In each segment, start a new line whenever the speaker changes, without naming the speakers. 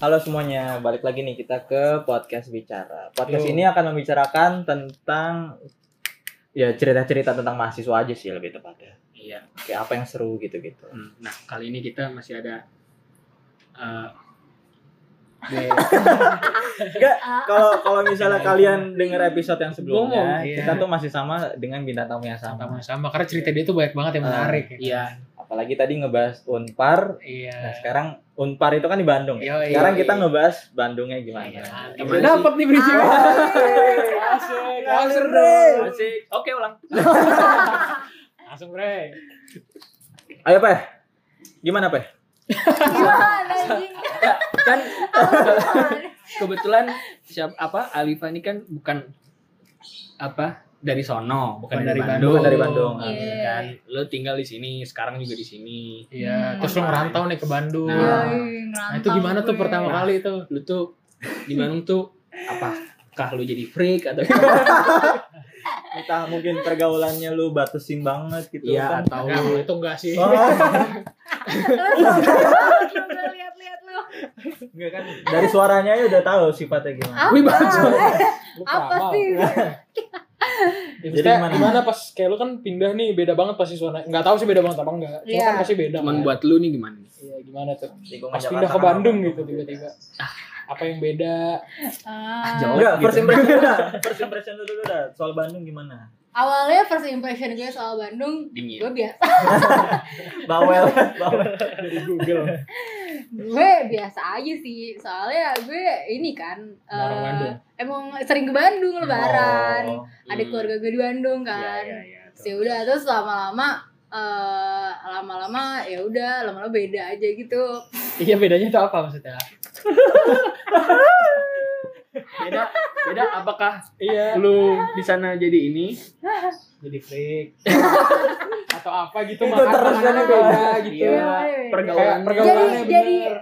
Halo semuanya, balik lagi nih kita ke podcast bicara. Podcast
Yo.
ini akan membicarakan tentang ya cerita-cerita tentang mahasiswa aja sih lebih tepatnya.
Iya.
Kayak apa yang seru gitu-gitu.
Hmm, Nah, kali ini kita masih ada eh de
Kalau kalau misalnya kalian dengar episode yang sebelumnya,
Ngomong, iya.
kita tuh masih sama dengan bintang tamu yang
sama
sama.
sama karena cerita dia tuh banyak banget yang
Ah,
menarik ya.
iya.
Apalagi tadi ngebahas Unpar.
iya
Nah, sekarang Unpar itu kan di Bandung. ya.
Yoi.
Sekarang kita ngebahas Bandungnya gimana.
Iya.
Iya.
udah dapat nih berisi
Iya,
Eh,
Asik,
Langsung, Bre.
Asik. Oke, ulang.
langsung bre
Ayo, Peh. Gimana, Peh?
Gimana anjing?
Kan
Apaan?
kebetulan siapa apa Alifa ini kan bukan apa dari sono, bukan,
Bukan
dari
dari
Bandung.
Bukan dari Bandung.
Iya.
Ya kan? Lo tinggal di sini, sekarang juga di sini.
iya
Hmm.
terus lo ngerantau nih ke Bandung
Nah.
nah, itu gimana tuh pertama
Nah.
kali itu
Lo tuh di Bandung tuh apakah lo jadi freak atau
entah mungkin pergaulannya lu batasin banget gitu kan.
Iya, atau
Enggak, kalau itu enggak sih
Oh,
lihat-lihat lu.
enggak kan. Dari suaranya ya udah tahu sifatnya gimana.
Apa?
Wih, bagus.
Gua
Apa
peramal.
sih?
Ya,
Jadi
maksudnya
gimana?
gimana pas kayak lu kan pindah nih beda banget pasti suasana nggak tahu sih beda banget apa enggak cuma
Iya.
kan pasti beda
Cuman
kan.
buat lo nih gimana?
iya gimana tuh
Lingkungan
pas
Jakarta
pindah ke
kan
Bandung
apa?
gitu tiba-tiba apa yang beda
Ah.
jauh.
Enggak,
Gitu.
first impression dah. Oh, First impression lu dulu dah soal Bandung gimana?
Awalnya first impression gue soal Bandung,
Dingin.
gue biasa
Bawel, bawel.
dari Google
gue biasa aja sih. Soalnya gue ini kan eh,
Orang Bandung. hmm.
emang sering ke Bandung lebaran.
Oh.
Ada keluarga gue di Bandung
Iya,
kan.
Iya,
Terus ya udah terus lama-lama eh, lama-lama ya udah lama-lama beda aja gitu.
iya bedanya tuh apa maksudnya
Beda, beda apakah
iya
lu di sana jadi ini
jadi freak atau apa
Itu
gitu makan-
terus
makanannya
kan,
beda gitu
Iya.
kayak
pergaulan
Jadi
pergaulannya
jadi
bener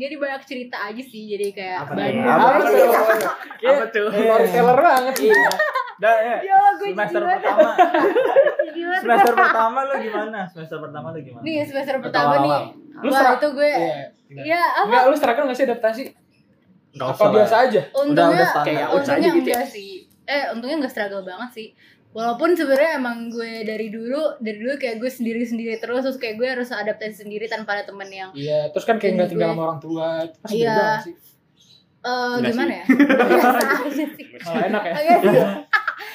jadi banyak cerita aja sih jadi kayak
Apa
Bandung.
Apa
apa
tuh?
tuh Iya.
apa tuh
storyteller banget sih
Iya.
Dah, ya.
Ya Allah, gue
Semester
jiwa-
pertama.
jiwa.
Semester pertama lu gimana? Semester pertama lu gimana?
Nih semester
Atau
pertama nih.
awal-awal?
Lu
Wah
serak-
itu gue.
Iya.
Iya apa?
Enggak, lu struggle gak sih adaptasi?
Nggak
Apa
usah lah.
biasa aja?
Udah udah
Untungnya
standar. Udah.
kayak udah. aja
untungnya
gitu ya.
enggak sih. Eh untungnya enggak struggle banget sih. Walaupun sebenarnya emang gue dari dulu dari dulu kayak gue sendiri-sendiri terus terus kayak gue harus adaptasi sendiri tanpa ada temen yang
Iya, terus kan kayak
Ini
gak tinggal
gue.
sama orang tua itu Pasti
Iya.
beda gak sih?
eh
Enggak
gimana ya? Biasa aja sih.
Malah enak ya?
Agak sih.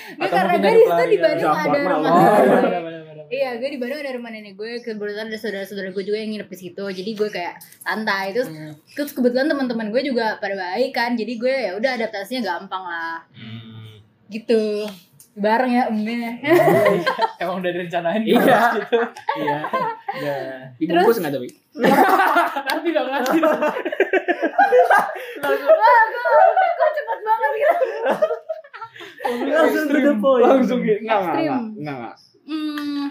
Gue
Atau
karena
mungkin
gue
dari
di situ di
pelarian.
Bandung
Jangan
ada
formal.
rumah
Oh,
gue.
bener, bener, bener.
Iya, gue di Bandung ada rumah nenek gue, kebetulan ada saudara-saudara gue juga yang nginep di situ. Jadi gue kayak santai. Terus,
Hmm.
terus kebetulan teman-teman gue juga pada baik kan. Jadi gue ya udah adaptasinya gampang lah.
Hmm.
Gitu. Bareng ya, Umi.
Emang udah direncanain
iya iya
Udah.
dibungkus nggak tapi
Nanti dong, nanti dong.
Wah, gue, gue cepet banget gitu.
Langsung to the point.
Langsung gitu
nggak nggak,
Ekstrim.
nggak nggak nggak
Hmm,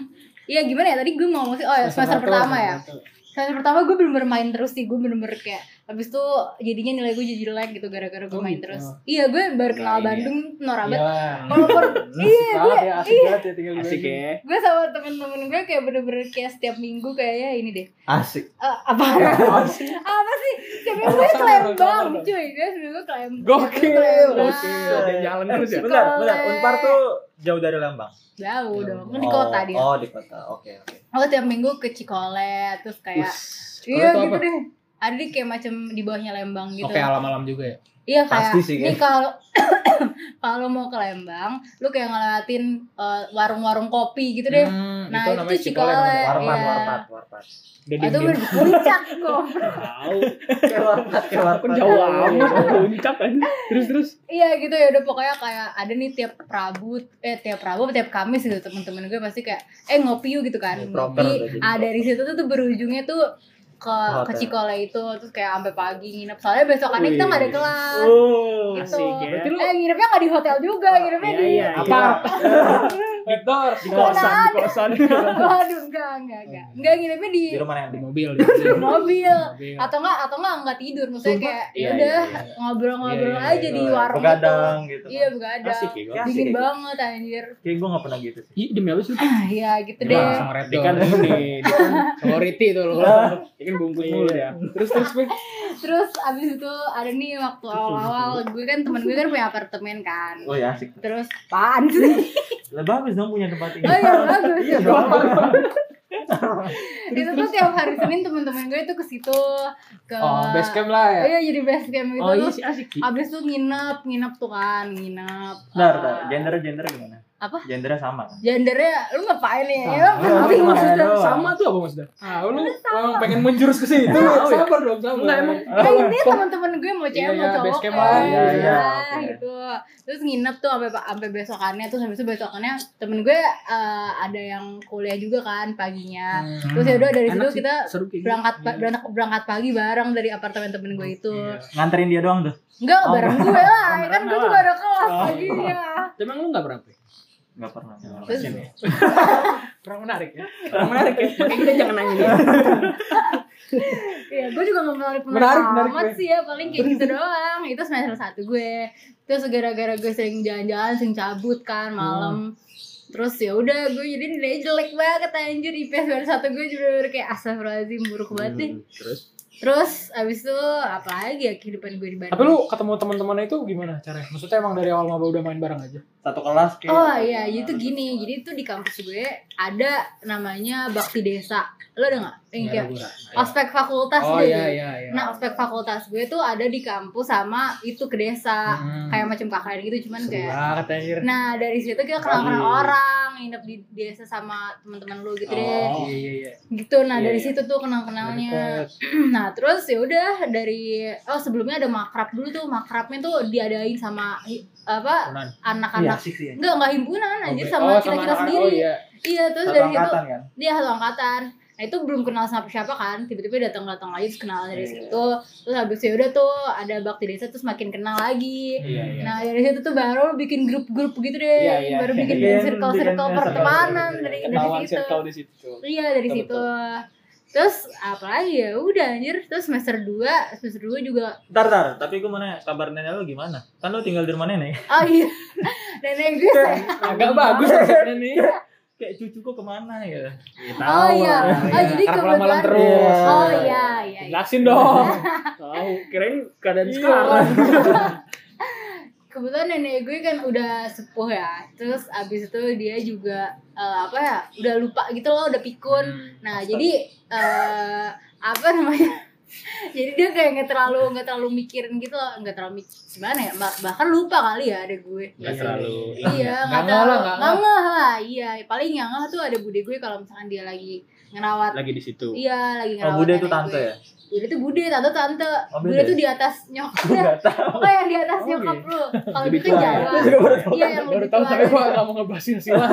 Iya gimana ya tadi gue mau ngomong sih oh ya semester pertama ya semester pertama gue belum bermain terus sih gue bener-bener kayak habis itu jadinya nilai gue jadi jelek gitu gara-gara gue
Oh,
main
gitu.
terus iya gue baru
Nah,
kenal
iya.
Bandung
Iya
norabat
lah.
walaupun iya gue
Asik banget ya, asik banget ya tinggal di
asik
Bandung.
ya
gue sama temen-temen gue kayak bener-bener kayak setiap minggu kayaknya ini deh
Asik.
Eh, apa apa sih setiap minggu gue
Sabar, sabar
klembang
dong.
cuy gue setiap minggu klembang
Gokil,
Gokil.
Iya,
Ada yang jalan terus ya?
Bentar, bentar. Unpar tuh jauh dari Lembang.
jauh dong kan di kota dia
Oh, di kota. Oke, oke.
aku tiap minggu ke Cikole terus kayak
Cikole
iya
tuh
gitu
apa?
deh ada di kayak macam di bawahnya Lembang gitu
Oke, alam-alam juga ya.
Iya kayak
Pasti sih,
nih kalau kalau mau ke Lembang, lu kayak ngelewatin eh, warung-warung kopi gitu deh.
Hmm,
Nah, itu
namanya
Cikole.
namanya.
Warpat,
Iya.
warpat, warpat.
Udah
Itu
diem-diem.
di puncak kok.
tahu
Kayak warpat, kayak warpat.
jauh amat puncak kan terus terus
Iya gitu ya udah pokoknya kayak ada nih tiap Rabu eh tiap Rabu tiap Kamis gitu temen-temen gue pasti kayak eh ngopi yuk gitu kan
Ya, proper udah jadi
ngopi ah dari situ tuh, tuh berujungnya tuh ke
Hotel.
ke Cikole itu terus kayak sampai pagi nginep soalnya besokannya kita nggak ada
Wih.
kelas
Oh.
gitu
asik ya
Berarti lu
eh nginepnya nggak di hotel juga nginepnya
Iya,
di
iya,
apa?
Iya.
Victor.
di kosan di kosan
Waduh, enggak, enggak, enggak. Enggak nginepnya di
di rumah nenek
mobil
di mobil
mobil.
atau enggak atau enggak enggak tidur maksudnya
Sumpah?
kayak
Iya,
ya udah
iya,
ngobrol-ngobrol
Iya, iya,
aja
iya.
di warung
begadang gitu
itu. Iya, begadang.
asik ya gue
Dingin banget anjir.
kayak gue gak pernah gitu sih
Ih, demi apa sih?
Ah, ya gitu
Iya.
deh.
Sama Red
Dia kan
Dawn.
ini dia kan
Sama Riti tuh lo.
dia kan bungkus mulu
Iya.
ya.
Gitu
Terus terus Pi.
Terus abis itu ada nih waktu awal-awal gue kan temen gue kan punya apartemen kan.
oh ya asik
Terus pan sih.
lah bagus dong punya tempat ini
Oh iya bagus.
iya dong
itu tuh tiap hari Senin temen-temen gue tuh ke situ ke
Oh, base camp lah ya.
Iya jadi base camp gitu
Oh iya
terus
sih asik sih.
abis tuh nginep nginep tuh kan nginep.
Bentar,
Ah,
bentar. Gendernya gendernya gimana?
Apa?
Gendernya sama. kan?
Gendernya lu ngapain ya? Ya,
Apa
penting
maksudnya?
doang.
Sama tuh apa maksudnya? Ah, lu
Iya.
emang pengen menjurus ke situ. Sabar dong,
ya?
sabar.
Enggak, emang-
Ya ini teman-teman gue mau
Iya,
cewek
iya,
mau cowok
base camp
kan.
lah.
Iya, iya,
Nah,
oke.
gitu. Terus nginep tuh sampai sampai besokannya terus habis itu besokannya temen gue eh, ada yang kuliah juga kan paginya.
Hmm.
Terus ya udah dari
Enak
situ
sih,
kita
seru kayak gitu.
berangkat pa- berangkat berangkat pagi bareng dari apartemen temen gue itu.
Iya.
Nganterin dia doang tuh.
Enggak
Oh,
bareng gue lah,
bareng
kan gue
lah.
juga ada kelas
Oh.
paginya.
gitu. Emang lu enggak berapa?
Enggak pernah. nggak pernah.
Terus
Kurang menarik ya.
Kurang menarik ya. Makanya kita jangan nanya dia.
ya gue juga nggak menarik
Menarik,
menarik
menarik
amat sih ya paling kayak gitu doang itu semester satu gue terus gara-gara gue sering jalan-jalan sering cabut kan
Hmm.
malam terus ya udah gue jadi nilai jelek banget anjir IPS baru satu gue juga kayak astagfirullahaladzim buruk banget
Hmm,
deh
Terus
terus abis itu apa lagi ya kehidupan gue di Bandung
Tapi lu ketemu teman-temannya itu gimana caranya? Maksudnya emang dari awal maba udah main bareng aja?
Satu kelas kayak.
Oh iya, jadi tuh gini, jadi tuh di kampus gue ada namanya bakti desa. Lo ada nggak? Yang kayak
Gara-gara.
ospek fakultas
Iya, Oh
deh.
iya iya iya.
Nah, ospek fakultas gue tuh ada di kampus sama itu ke desa. Kayak macam KKN gitu cuman
Seru
kayak
banget anjir.
Nah, dari situ kita kenal-kenal orang, nginep di desa sama teman-teman lu gitu deh.
Oh iya iya.
Gitu. Nah,
Iya,
dari
iya.
situ tuh kenal-kenalnya. nah, terus ya udah dari oh sebelumnya ada makrab dulu tuh. Makrabnya tuh diadain sama hi- apa?
Himpunan.
Iya,
anak-anak
asik sih.
Enggak, enggak himpunan anjir sama
Oh,
kita-kita
anak-anak.
sendiri.
Oh
iya.
iya.
terus
Satu
dari situ
angkatan kan.
dia satu angkatan nah itu belum kenal sama siapa kan tiba-tiba datang datang lagi terus kenal dari
Iya.
situ terus habis itu ya udah tuh ada bakti desa terus makin kenal lagi
Iya, iya.
nah dari situ tuh baru bikin grup-grup gitu deh
Iya, iya. gitu,
baru bikin
Iya, bikin
circle-circle
circle,
pertemanan
circle.
dari
Ketahuan
dari situ
circle di situ.
iya dari
Betul,
situ terus apalagi ya udah anjir terus semester 2 semester 2 juga
Ntar, ntar. Tapi gue mau nanya, kabar nenek lu gimana? Kan lu tinggal di rumah nenek.
oh iya nenek gue
Agak bagus maksudnya nih.
Kayak cucu gue kemana ya?
oh iya oh jadi
Karena pulang
kebetulan
malam terus.
oh iya iya, iya.
Jelasin dong.
Tahu, kirain keadaan
Iya.
sekarang.
kebetulan nenek gue kan udah sepuh ya terus abis itu dia juga eh, apa ya udah lupa gitu loh udah pikun nah jadi eh, apa namanya jadi dia kayak nggak terlalu nggak terlalu mikirin gitu loh nggak terlalu mik- gimana ya bah- bahkan lupa kali ya ada gue
Nggak terlalu.
Iya, nggak
Nggak
tahu.
ngalah, nggak
Nggak ngeh lah, iya. Paling yang ngeh tuh ada bude gue kalau misalkan dia lagi ngerawat.
Lagi di situ.
Iya,
Oh,
lagi ngerawat.
Bude itu
nenek
tante
gue.
ya?
Bude tuh bude, tante tante.
Oh,
bude
beda.
tuh di atas nyokap.
Gue gak tau.
Pokoknya yang di atas
Oh,
nyokap lu. Kalau
Lebih
itu
tua ya?
Jawa.
Gue iya. juga baru tau.
Iya, yang
Baru
lebih
tahu
tua.
tapi gua nggak mau ngebahasnya sih lah.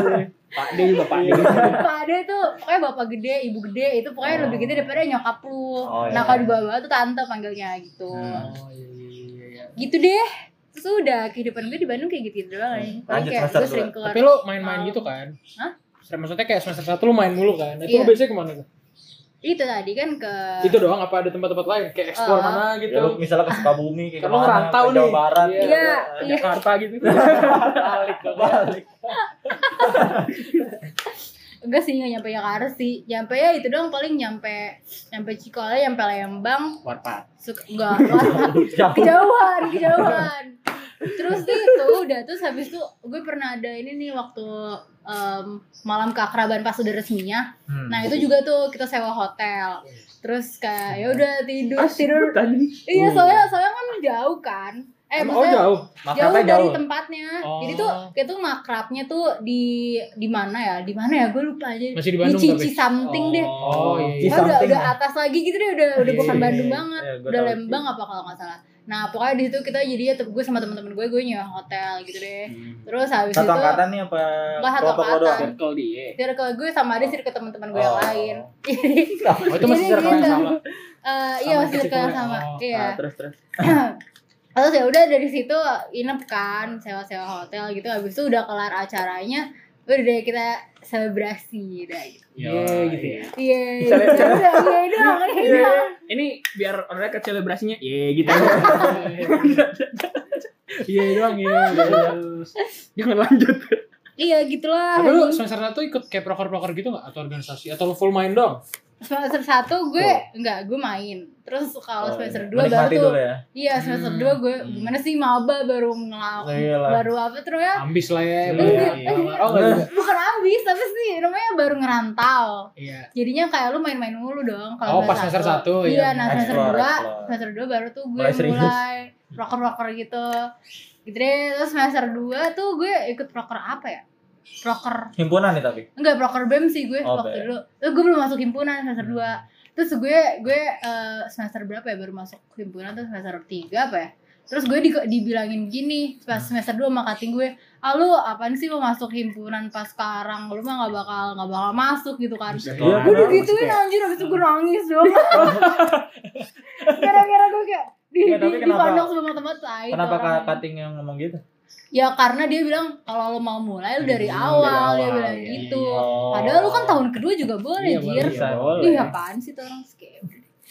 Pak D juga Pak D.
Bapak ada tuh pokoknya bapak gede, ibu gede itu pokoknya
Oh.
lebih gede daripada nyokap lu.
Oh, iya.
Nah, kalau di bawah tuh tante panggilnya gitu.
Oh,
Hmm.
iya,
Gitu deh. Terus udah kehidupan gue di Bandung kayak gitu
Hmm.
doang. Hmm. Paling
Lanjut
kayak
semester
gue sering keluar.
Tapi lu main-main gitu kan?
Hah?
Maksudnya kayak semester satu lu main mulu kan? Itu lu
Iya.
biasanya kemana tuh?
Itu tadi kan ke
Itu doang apa ada tempat-tempat lain? Kayak
Oh.
eksplor mana
Ya, lu
gitu?
misalnya ke Sukabumi, kayak
Kan lu
kemana,
ngerantau
ke Jawa
nih.
Barat. gitu.
Iya.
Iya, iya.
Jakarta gitu. Balik ke
Balik.
Enggak sih, nggak nyampe Jakarta sih. Nyampe ya itu doang paling nyampe nyampe Cikole, nyampe Lembang.
Warpat.
Suka, enggak.
Jauh.
kejauhan kejauhan terus nih itu udah terus habis itu gue pernah ada ini nih waktu em, malam keakraban pas udah resminya
Hmm.
nah itu juga tuh kita sewa hotel terus kayak ya udah
Ah,
tidur tidur
Tadi.
iya soalnya soalnya kan jauh kan eh
Oh
maksudnya
jauh.
jauh
Makrabnya
dari
jauh.
tempatnya
Oh.
jadi tuh kayak tuh makrabnya tuh di di mana ya di mana ya gue lupa aja
Masih di
di
Bandung
Cici
tapi.
something deh
Oh
Di
iya.
Oh, udah
something
udah
ya?
atas lagi gitu deh udah udah
Iya,
bukan
iya,
Bandung
iya.
banget
Iya, gua
udah
tahu.
Lembang apa kalau nggak salah nah pokoknya di situ kita jadi ya gue sama teman-teman gue gue nyewa hotel gitu deh
Hmm.
terus habis
Satu
itu
angkatan nih apa?
Nggak, satu
kelompok lo doang?
angkatan.
Circle dia.
circle gue sama ada circle teman-teman gue yang
Oh.
lain jadi
Oh
Iya,
itu masih
Jadi
circle yang
gitu.
sama.
eh, iya
Sama
masih circle yang
circle-nya.
sama
Oh,
iya
Nah, terus terus.
terus ya udah dari situ inap kan sewa-sewa hotel gitu habis itu udah kelar acaranya udah deh kita selebrasi udah gitu.
Iya,
Yeay, gitu ya.
Iya, iya,
Sele-
iya, iya, doang, iya, doang.
Ini biar orangnya ke selebrasinya. Ye gitu.
Iya.
Iya doang ya. Jangan lanjut.
Iya, gitulah.
Tapi lu semester 1 ikut kayak proker-proker gitu gak? Atau organisasi? Atau lu full main dong?
Semester satu gue
Tuh.
enggak, gue main. Terus
Oh,
kalau semester
iya.
dua baru
Menikmati
tuh
dulu ya.
Iya semester
Hmm.
2 gue gimana sih maba baru ngelakuin
Oh, Iyalah.
baru apa tuh ya
Ambis lah ya.
Iya,
lu ya.
iya.
Oh nggak juga.
bukan habis tapi sih namanya baru ngerantau
Iya.
jadinya kayak lu main-main mulu dong
Oh,
kalau
pas semester satu,
iya
iya.
nah semester
Explore,
dua
explore.
semester dua baru tuh gue
Mulai
mulai,
serius.
rocker rocker gitu gitu deh terus semester dua tuh gue ikut rocker apa ya rocker
Himpunan nih tapi.
Enggak, broker BEM sih gue
Oh, BEM. Hmm.
waktu dulu. Terus gue belum masuk himpunan semester 2. Terus gue gue eh, semester berapa ya baru masuk himpunan tuh semester 3 apa ya? Terus gue di- dibilangin gini pas
Hmm.
semester 2 sama kating gue, "Ah lu apaan sih lu masuk himpunan pas sekarang? Lu mah gak bakal gak bakal masuk gitu kan."
Iya,
Gue
bener,
digituin anjir habis itu gue
Hmm.
nangis dong. Gara-gara gue kayak di
Iya,
di,
tapi kenapa-
dipandang sama teman lain.
Kenapa
orangnya.
Kak Kating yang ngomong gitu?
Ya karena dia bilang kalau lo mau mulai lu
Hmm,
dari
dari
awal, dia
awal,
bilang
iya,
gitu.
Oh.
Padahal lu kan tahun kedua juga
Iya,
boleh, Iya. Jir.
boleh.
Bisa, boleh.
Ih, apaan sih tuh orang skip.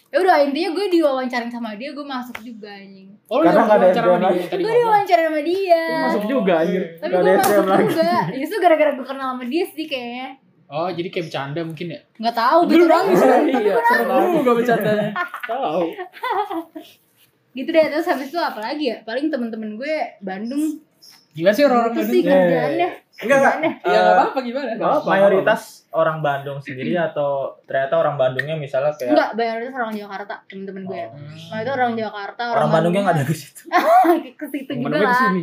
Ya udah intinya gue diwawancarin sama dia, gue masuk juga anjing.
Oh lu
Karena
yang
nggak ada
wawancara sama
yang
dia tadi
Gue
ngomong.
diwawancara sama dia.
Lu Masuk juga anjir.
Tapi
Nggak
gue
ada
masuk
SM lagi.
juga. Justru gara-gara gue kenal sama dia sih kayaknya.
Oh jadi kayak bercanda mungkin ya?
Gak tau, gitu dong.
Iya, seru juga bercandanya.
Tahu.
Gitu deh, terus habis itu apa lagi ya? Paling temen-temen gue Bandung.
Gila sih orang-orang
Itu sih
Bandung.
kerjaannya.
Enggak, enggak.
Ya enggak apa-apa gimana?
Eh, mayoritas orang Bandung sendiri atau ternyata orang Bandungnya misalnya kayak Oh.
Enggak, bayarnya orang Jakarta, temen-temen gue. Nah itu orang Jakarta,
orang Bandungnya nggak ada ke situ.
ke situ
Temen
juga
gue
lah.
kesini.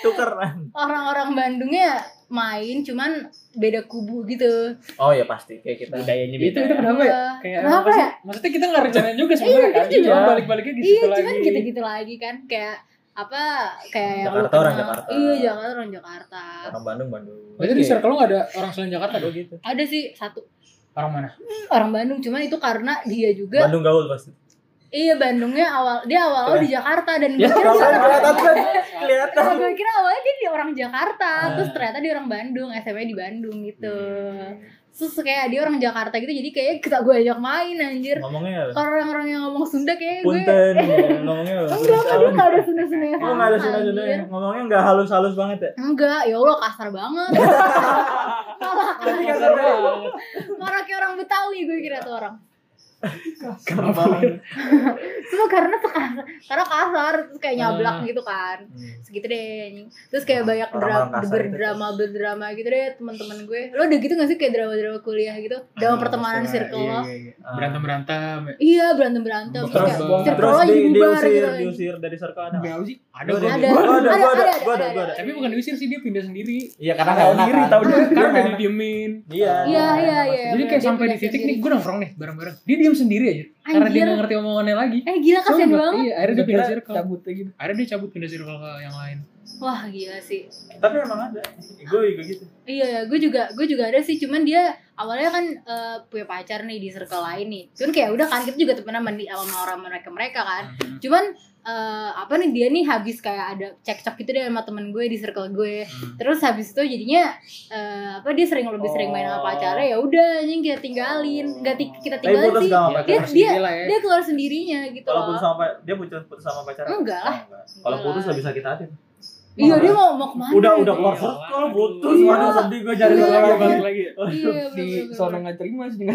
Tukeran.
Orang-orang Bandungnya main cuman beda kubu gitu.
Oh ya pasti kayak kita.
Budayanya
Itu itu
beda.
kenapa ya?
Iya.
Kayak
Kenapa
apa sih?
ya?
Maksudnya kita nggak rencanain juga sebenarnya
Iya,
kan?
iya.
Cuma balik-baliknya di
iya
situ lagi.
cuman gitu-gitu lagi kan kayak apa kayak yang lu
Jakarta orang
kenal.
Jakarta.
iya Jakarta orang Jakarta
Orang Bandung Bandung. Iya.
Berarti di circle lu nggak ada orang selain Jakarta dong?
gitu.
ada sih satu
Orang mana?
orang Bandung cuman itu karena dia juga
Bandung gaul pasti.
iya Bandungnya awal dia awal awal di Jakarta dan
Ya,
gue kira
kelihatan kan? Kelihatan.
Nah, gue kira awalnya dia di orang Jakarta,
Iya.
terus ternyata dia orang Bandung, SMA di Bandung gitu.
Iya.
Terus kayak dia orang Jakarta gitu, jadi kayak kita gue ajak main anjir.
Ngomongnya
Kalau orang-orang yang ngomong Sunda kayak gue
Iya. punten ngomongnya. Oh,
enggak kan dia enggak ada Sunda-Sunda yang
Lu nggak ada
sama,
sunda sunda
anjir.
ngomongnya nggak halus halus banget ya.
Enggak, ya Allah kasar banget. Malah
Kasar banget.
marah kayak orang Betawi gue kira tuh orang.
Kenapa?
Cuma karena tuh kasar, karena kasar terus kayak nyablak
Iya.
gitu kan. Segitu deh. anjing. Terus kayak banyak
Orang-orang
dra-
kasar gitu.
berdrama berdrama gitu deh teman-teman gue. Lo udah gitu gak sih kayak drama-drama kuliah gitu?
Iya,
Drama pertemanan circle lo.
Berantem berantem.
Iya, berantem-berantem Iya. terus
Terus,
kayak
banget.
circle
terus
lo
di,
jadi bubar
diusir,
gitu. anjing.
diusir dari circle ada. nggak?
Bau sih? Ada
Gua
gua
Gua
ada.
ada, gua ada,
ada,
gua ada,
ada,
gua ada.
Tapi bukan diusir sih dia pindah sendiri.
Iya karena
Karena
nggak
tahu
enak.
diri, tahu diri. Karena udah
Karena
didiemin.
Iya.
Iya, iya, iya.
Jadi
bener.
kayak
Dia
sampai di
pindah
titik
sendiri.
nih gue nongkrong nih bareng-bareng. Dia diam sendiri aja. Karena dia
Anjir.
nggak ngerti omongannya lagi.
Eh gila kasihan
Soalnya,
banget.
Iya, akhirnya dia
Gua kira
pindah circle.
Cabutnya gitu.
Akhirnya dia cabut pindah circle ke yang lain.
Wah, gila sih.
Tapi emang ada. Gue juga gitu.
Iya ya, gue juga gue juga ada sih, cuman dia awalnya kan eh, punya pacar nih di circle lain nih. Cuman kayak udah kan kita juga temenan sama, di- sama orang mereka mereka kan. Cuman eh, apa nih dia nih habis kayak ada cekcok gitu deh sama temen gue di circle gue.
Hmm.
Terus habis itu jadinya eh, apa dia sering lebih sering main sama pacarnya ya udah anjing kita tinggalin, nggak ti- kita
Oh. Tapi
tinggalin
putus
sih.
sama
Dia
pacar.
dia
Gila ya.
dia keluar sendirinya gitu
Kalau putus
loh.
sama dia putus putus sama pacar.
Enggak lah.
Kalau
Enggak
putus
lah.
lebih sakit hati.
Iya, dia mau mau kemana?
Udah udah keluar
Iya.
circle putus.
Iya.
Waduh sedih gue cari
Iya.
orang
Iya.
lagi.
Balik lagi. ya?
Iya,
Di
bener-bener.
zona nggak terima sih dengan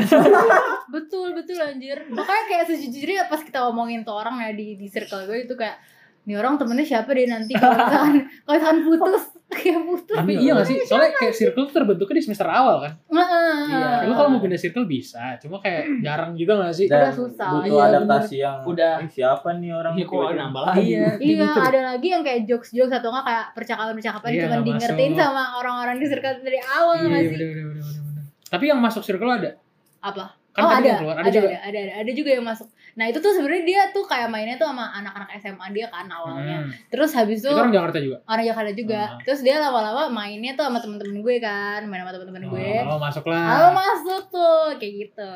Betul, betul anjir. Makanya kayak sejujurnya pas kita omongin tuh orang ya di di circle gue itu kayak ini orang temennya siapa deh nanti kalau misalkan kalau misalkan putus kayak putus
Tapi iya gak sih? Soalnya kayak circle tuh terbentuknya di semester awal kan.
Iya.
Lu kalau mau pindah circle bisa, cuma
Hmm.
kayak jarang juga gak sih?
Udah susah.
Butuh
Iya,
adaptasi yang
Udah.
"Ih, siapa nih orang
Iya, kok
tiba-tiba?"
nambah lagi.
Iya, ada lagi yang kayak jokes-jokes atau enggak kayak percakapan-percakapan
gitu Iya,
cuman
nggak
dingertiin
masuk.
sama orang-orang di circle dari awal
Iya,
nggak
iya,
sih?
bener, bener, bener, bener, bener. Tapi yang masuk circle ada?
Apa?
Kan
oh
tadi
ada,
yang keluar,
ada,
ada,
ada,
juga.
ada, ada, juga yang masuk. Nah itu tuh sebenarnya dia tuh kayak mainnya tuh sama anak-anak SMA dia kan awalnya.
Hmm.
Terus habis
Itu orang Jakarta juga.
orang Jakarta juga.
Ah.
Terus dia lama-lama mainnya tuh sama temen-temen gue kan, main sama temen-temen gue.
Oh, masuk lah.
Lalu
Nah.
masuk tuh kayak gitu.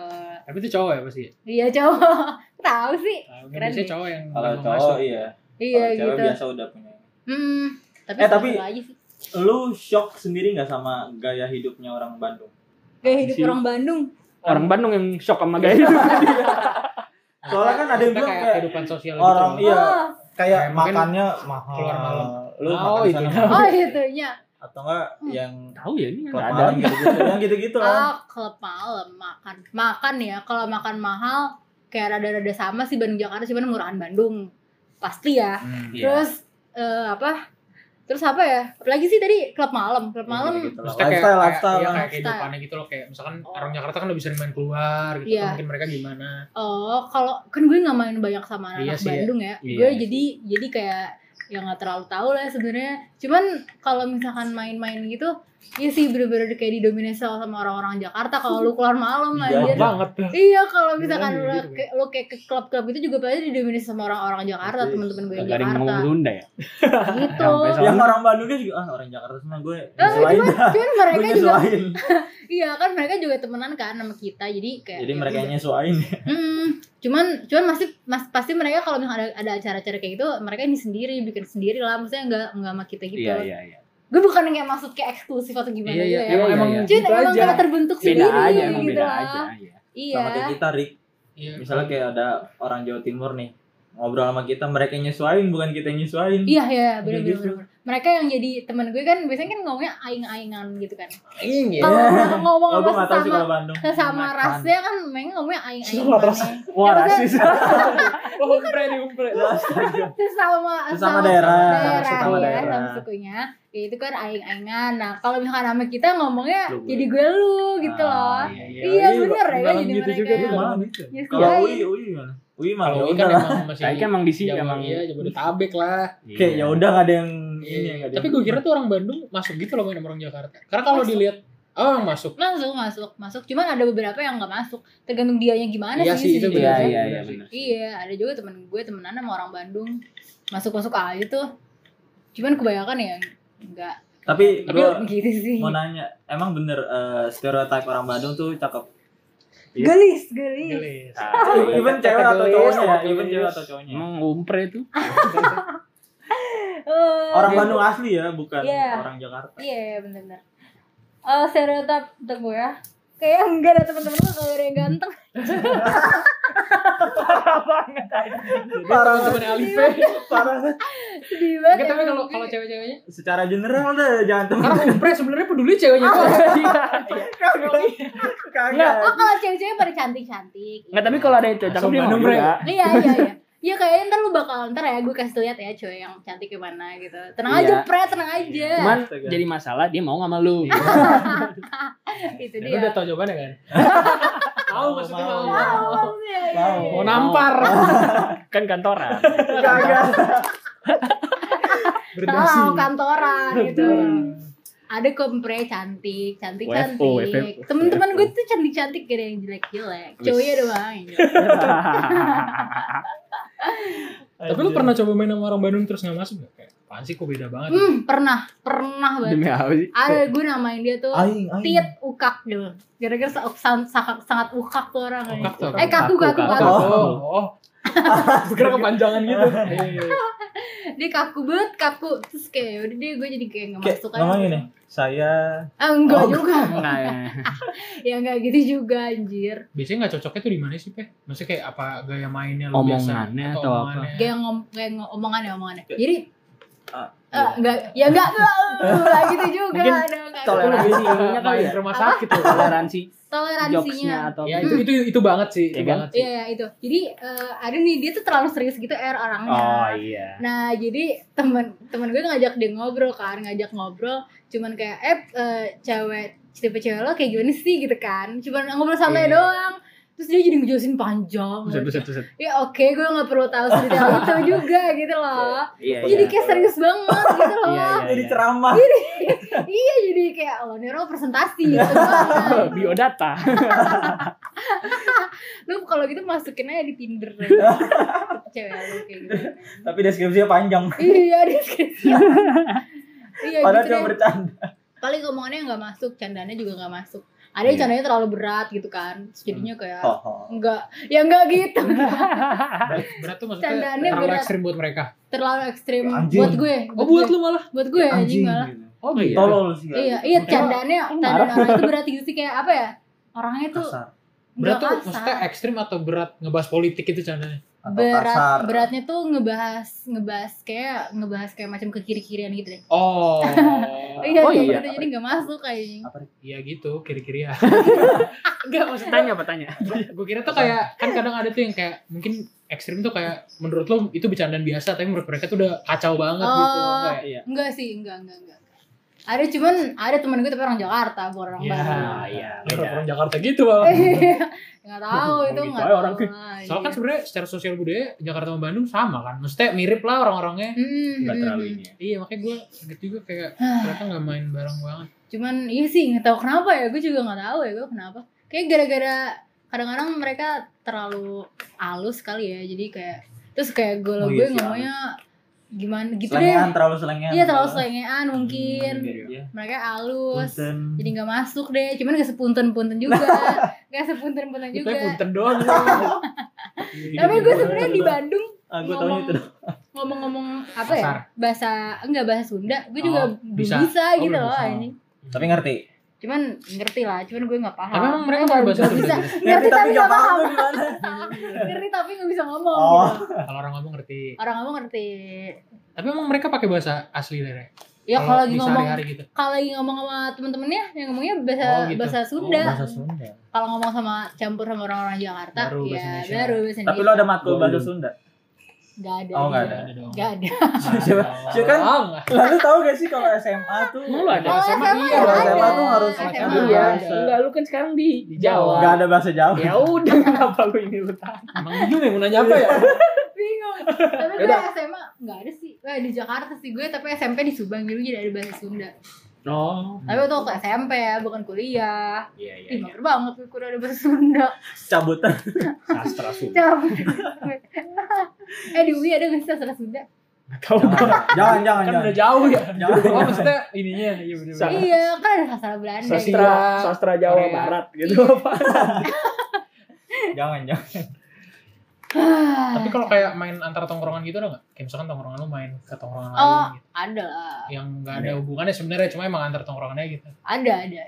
Tapi itu cowok ya pasti. ya?
Iya cowok, tahu sih.
Nah,
Keren
biasanya
nih.
cowok yang
Kalau
mau
cowok iya.
Iya
Kalau cewek
gitu.
biasa udah punya.
Hmm, tapi
Eh, tapi-
seru-seru aja sih.
lu shock sendiri nggak sama gaya hidupnya orang Bandung?
Gaya hidup
Sih.
orang Bandung.
Orang Bandung yang shock sama gaya hidup.
Soalnya kan ada yang bilang
kayak
kayak
kehidupan sosial
orang
gitu.
iya
Oh,
kayak
Kayak mungkin
makannya mahal.
keluar malam.
Lu
Oh,
makan
itu.
di sana mahal.
oh itunya.
atau enggak
Hmm.
yang
Tahu ya ini
klub
nggak ada.
malam gitu-gitu. yang gitu-gitu kan.
Oh, klub malam makan. Makan ya, kalau makan mahal kayak rada-rada sama sih Bandung Jakarta cuman murahan Bandung. Pasti ya.
Hmm.
Iya.
Terus eh, apa? Terus apa ya? Apalagi sih tadi klub
Oh,
malam, klub
iya,
gitu
malam.
Gitu-gitu lah.
Maksudnya kayak,
Lifestyle, lifestyle. kan.
kayak, iya, kayak
lifestyle.
kehidupannya gitu loh kayak misalkan
Oh.
orang Jakarta kan lebih sering main keluar gitu
Iya.
kan mungkin mereka gimana
Oh, kalau kan gue nggak main banyak sama anak
Iya sih,
Bandung ya.
Iya
gue
sih.
jadi jadi kayak ya nggak terlalu tahu lah sebenarnya. Cuman kalau misalkan main-main gitu, ya sih bener-bener kayak didominasi sama orang-orang Jakarta. Kalau lu keluar malam
Iya,
aja.
Bang.
banget
Iya, kalau misalkan
Iya,
lu,
gitu.
kayak- lu kayak ke klub-klub itu juga pasti didominasi sama orang-orang Jakarta,
Pasti.
teman-teman gue yang
Gak ada yang ngomong
Jakarta.
Sunda ya.
Gitu.
Sampai sama-
yang orang Bandungnya juga ah orang Jakarta semua gue
Eh,
nyusahin
cuman, cuman
gue
mereka juga
nyusahin
iya kan mereka juga temenan kan sama kita jadi kayak
jadi
ya
mereka
udah.
yang nyesuain
Hmm, cuman cuman masih mas, pasti mereka kalau misalnya ada ada acara-acara kayak gitu mereka ini sendiri bikin sendiri lah maksudnya nggak nggak sama kita gitu.
Iya iya iya.
Gue bukan kayak maksud kayak eksklusif atau gimana
iya iya
gitu ya.
emang
Iya,
emang
iya.
Cuman
gitu
emang
aja
karena terbentuk
Beda
sendiri
aja emang
gitu
beda
lah.
aja. Iya.
Iya.
sama kayak gitu. kita Rick
Iya.
misalnya kayak ada orang Jawa Timur nih ngobrol sama kita mereka yang nyesuain bukan kita yang nyesuain
Iya iya benar
Kayak
benar.
gitu.
benar. Mereka yang jadi teman gue kan biasanya kan ngomongnya aing-aingan gitu kan.
Iya.
Kalau orang ngomong
Oh, gue
sama
gak tau sih
sesama
kalau Bandung.
sesama
Makan.
rasnya kan mereka ngomongnya aing-aingan.
Sesama ras.
aneh.
Wah
Iya,
rasis.
wah umpre nih umpre
Astaga.
sesama
Sesama daerah. Iya.
daerah
Sesama
ya
daerah.
sama sukunya ya itu kan aing-aingan nah kalau misalkan sama kita ngomongnya
Lu gue.
jadi gue lu gitu loh
Ah, iya, iya.
iya bener ya
malam
jadi
gitu
mereka
juga
Iya,
dia
malam gitu.
Yes,
Kalau
guys.
UI, UI gimana? UI malah
kalau
ya
ini kan
udah lah.
emang masih
Kayaknya emang di sini
Jawa-
emang.
iya Jabodetabek lah
Iya.
Oke, ya udah gak ada yang ini
Iya,
gak ada.
tapi
yang-
gue kira tuh orang Bandung masuk gitu loh main sama orang Jakarta karena kalau dilihat oh yang masuk
masuk masuk masuk cuman ada beberapa yang nggak masuk tergantung dianya gimana
Iya
sih,
sih, itu
sejujurnya.
Iya
bener.
iya iya benar.
gitu iya ada juga temen gue temenan sama orang Bandung masuk masuk aja tuh cuman kebanyakan ya enggak
Tapi gue
gitu sih
mau nanya, emang bener eh, stereotype orang Bandung tuh cakep.
Iya.
gelis gelis
Gelis.
Ah,
Even
Kata
cewek atau
gelis,
cowoknya ya,
kata
even
gelis.
cewek atau cowoknya.
iya, Emang ngumpre tuh.
Eh,
Orang Bandung asli ya, bukan
Iya.
orang Jakarta.
Iya, iya benar-benar. Eh stereotip untuk gue ya. Kayak enggak ada teman-teman lu kalau ada yang ganteng.
Parah
temen Alife
parah banget.
Sedih banget.
Enggak, tapi
ya,
kalau
gue.
kalau cewek-ceweknya
Secara general deh, jangan temen.
karena umpre sebenarnya peduli ceweknya tuh.
Kagak.
Oh, kalau cewek-cewek pada cantik-cantik.
Nggak tapi kalau ada yang cocok
Langsung
dia mau
Bandung, Bre.
juga.
Iya, iya, iya. Iya kayaknya ntar lu bakal ntar ya gue kasih lihat ya cewek yang cantik gimana gitu. Tenang aja,
Iya.
Pre, tenang aja.
Cuman
Astaga.
jadi masalah dia mau sama lu.
itu
Lu
Gitu dia.
udah tau jawabannya kan? Tahu maksudnya
Mau,
mau.
mau.
Oh, iya, iya,
Wow.
iya.
Mau nampar.
kan kantoran.
Kagak.
Berdasi.
Salah kantoran gitu.
Kantoran.
Ada kompre cantik, cantik
WFO,
cantik.
WFO.
Temen-temen gue tuh cantik cantik gak ada yang jelek jelek.
Wis.
Cowoknya doang. yang jelek.
Tapi lu pernah coba main sama orang Bandung terus nggak masuk nggak? Kayak apaan sih kok beda banget?
Hmm, pernah, pernah banget.
Demi apa sih?
Ada gue namain dia tuh
aing aing.
Tiet Ukak dulu. Gara-gara sa- san- sangat, sangat ukak tuh orang.
Ukak tuh apa?
eh kaku
Kaku,
kaku kaku.
kaku.
Oh, oh. Kira kepanjangan gitu. Iya, iya, iya.
Dia kaku banget, kaku. Terus kayak ya udah deh gue jadi kayak nggak
Kayak
masuk aja.
ngomong gini, saya
Ah, enggak
Oh,
juga.
Enggak ya.
Ya enggak gitu juga anjir.
Biasanya nggak cocoknya tuh di mana sih, Peh? Maksudnya kayak apa gaya mainnya lu biasa?
Omongannya atau apa?
omongannya?
Kayak ngom kayak ngom- omongan ya omongannya. Jadi
Ah,
eh, enggak ya enggak enggak gitu juga
iya. Mungkin
ada enggak.
toleransi. Toleransinya kali
Main
ya?
ke rumah sakit tuh.
Toleransi jokesnya
toleransinya.
atau
Ya
apa?
itu itu itu banget sih, itu
Iya kan?
banget sih.
Iya, iya, itu. Jadi eh, ada nih dia tuh terlalu serius gitu R orangnya.
Oh iya.
Nah, jadi temen temen gue ngajak dia ngobrol kan, ngajak ngobrol, cuman kayak eh eh, cewek tipe cewek lo kayak gimana sih gitu kan. Cuman ngobrol santai
Iya.
doang. Terus dia jadi ngejelasin panjang.
Buset, buset, buset.
Ya oke, gue nggak perlu tahu detail itu juga gitu loh.
Iya,
Jadi kayak serius banget gitu loh.
Iya,
jadi
iya.
ceramah.
Iya, jadi kayak lo nih lo presentasi gitu. doang.
biodata.
lu kalau gitu masukin aja di Tinder deh. cewek lu kayak gitu.
Tapi deskripsinya panjang.
Iya, deskripsi. Iya,
Padahal
gitu
cuma
deh.
bercanda.
paling omongannya nggak masuk candanya juga nggak masuk ada yang
Iya.
candanya terlalu berat gitu kan Terus jadinya kayak
Oh, oh.
nggak ya nggak gitu
Berat, berat tuh maksudnya
Candaannya
terlalu
berat. ya.
ekstrim buat mereka.
terlalu ekstrim
Anjing.
buat gue
Oh buat lu malah.
buat gue anjing malah
gitu.
Oh iya.
Tolol sih. gila.
Iya, iya
Makanya
candaannya
kan
tandaan
marah.
orang itu berarti gitu sih kayak apa ya? Orangnya tuh
kasar
Berat
nggak
tuh maksudnya eh,
kasar.
ekstrim atau berat ngebahas politik gitu, itu candanya?
atau kasar.
berat beratnya tuh ngebahas ngebahas kayak ngebahas kayak macam ke kiri kirian gitu deh
Oh.
iya
oh iya.
iya gitu, jadi nggak masuk kayaknya
Apa itu?
Iya gitu, kiri-kiri ya.
Enggak, maksud tanya apa tanya?
Gue kira tuh kayak kan kadang ada tuh yang kayak mungkin ekstrim tuh kayak menurut lo itu bercandaan biasa tapi menurut mereka tuh udah kacau banget gitu
Oh.
kayak iya.
enggak sih enggak enggak enggak ada cuman ada temen gue tapi orang Jakarta bukan orang
Ah,
Iya,
Bandung
iya.
Beda.
Orang Jakarta gitu, Bang.
Eh, iya. nggak tahu
Mau
itu
gitu
nggak
aja orang.
tahu Iya.
Soalnya kan sebenarnya secara sosial budaya Jakarta sama Bandung sama kan. Maksudnya mirip lah orang-orangnya.
Hmm,
Nggak terlalu ini.
Iya makanya gue kaget juga kayak ternyata nggak main bareng banget.
cuman iya sih nggak tahu kenapa ya gue juga nggak tahu ya gue kenapa kayak gara-gara kadang-kadang mereka terlalu halus kali ya jadi kayak terus kayak gue
Oh, iya
gue
sih,
ngomongnya gimana gitu
Selengean,
deh
terlalu selengean.
iya terlalu selengean mungkin
Iya.
mereka halus
Punten.
jadi nggak masuk deh cuman gak sepunten-punten juga nggak sepunten-punten
Kita
juga
punten doang.
tapi gue sebenarnya di Bandung
Ah, gue taunya itu. doang.
ngomong-ngomong apa ya
Kasar.
bahasa enggak bahasa Sunda gue juga
Oh,
belum
bisa.
bisa,
Oh,
gitu
belum
loh
bisa.
ini
Tapi ngerti.
cuman ngerti lah cuman gue nggak paham
Tapi emang mereka
Nggak
pakai bahasa
nggak
Sunda
bisa
gitu?
ngerti tapi nggak paham
tuh gimana.
ngerti tapi nggak bisa ngomong
Oh.
gitu.
Kalau orang ngomong ngerti.
orang ngomong ngerti
Tapi emang mereka pakai bahasa asli dari.
ya kalau lagi
di
ngomong
sehari-hari gitu.
kalau lagi ngomong sama temen-temennya yang ngomongnya bahasa
Oh, gitu.
bahasa Sunda
Bahasa Sunda.
kalau ngomong sama campur sama orang-orang Jakarta
Baru bahasa
ya
Indonesia.
baru bahasa
Tapi lo ada matkul
Belum.
bahasa Sunda.
nggak ada
Oh, nggak
dia.
ada.
dong.
nggak ada
Siapa? Siapa kan?
Doang.
Lalu tau gak sih kalau SMA tuh?
Emang lu ada?
Oh,
ya?
SMA
SMA
iya.
Kalau
ada.
SMA tuh harus
SMA
pakai
ada.
Iya,
bahasa.
enggak lu kan sekarang di
Di Jawa.
Jawa.
Gak ada bahasa Jawa.
Ya udah kenapa lu ini lu tanya?
Emang bingung ya mau nanya apa ya?
bingung tapi gue
Yaudah.
SMA nggak ada sih eh, di Jakarta sih gue tapi SMP di Subang dulu jadi ada bahasa Sunda
No.
tapi waktu waktu SMP ya bukan kuliah
Iya
ih mager banget gue kuliah ada bahasa Sunda
Cabutan.
Sastra Sunda.
Capek. eh di UI ada nggak sih sastra Sunda
Tahu
Jangan, jangan,
Kan
jangan.
udah jauh ya.
Jangan.
Oh maksudnya ininya iya bener-bener.
Sa-
iya kan ada sastra Belanda
sastra
Iya.
sastra Jawa
Korea.
Barat gitu apa?
Jangan, jangan.
Iya.
Tapi kalau kayak main antar tongkrongan gitu ada nggak? Kayak misalkan tongkrongan lu main ke tongkrongan lain
oh
gitu.
ada lah
Yang nggak ada hubungannya sebenarnya cuma emang antar tongkrongannya gitu.
ada ada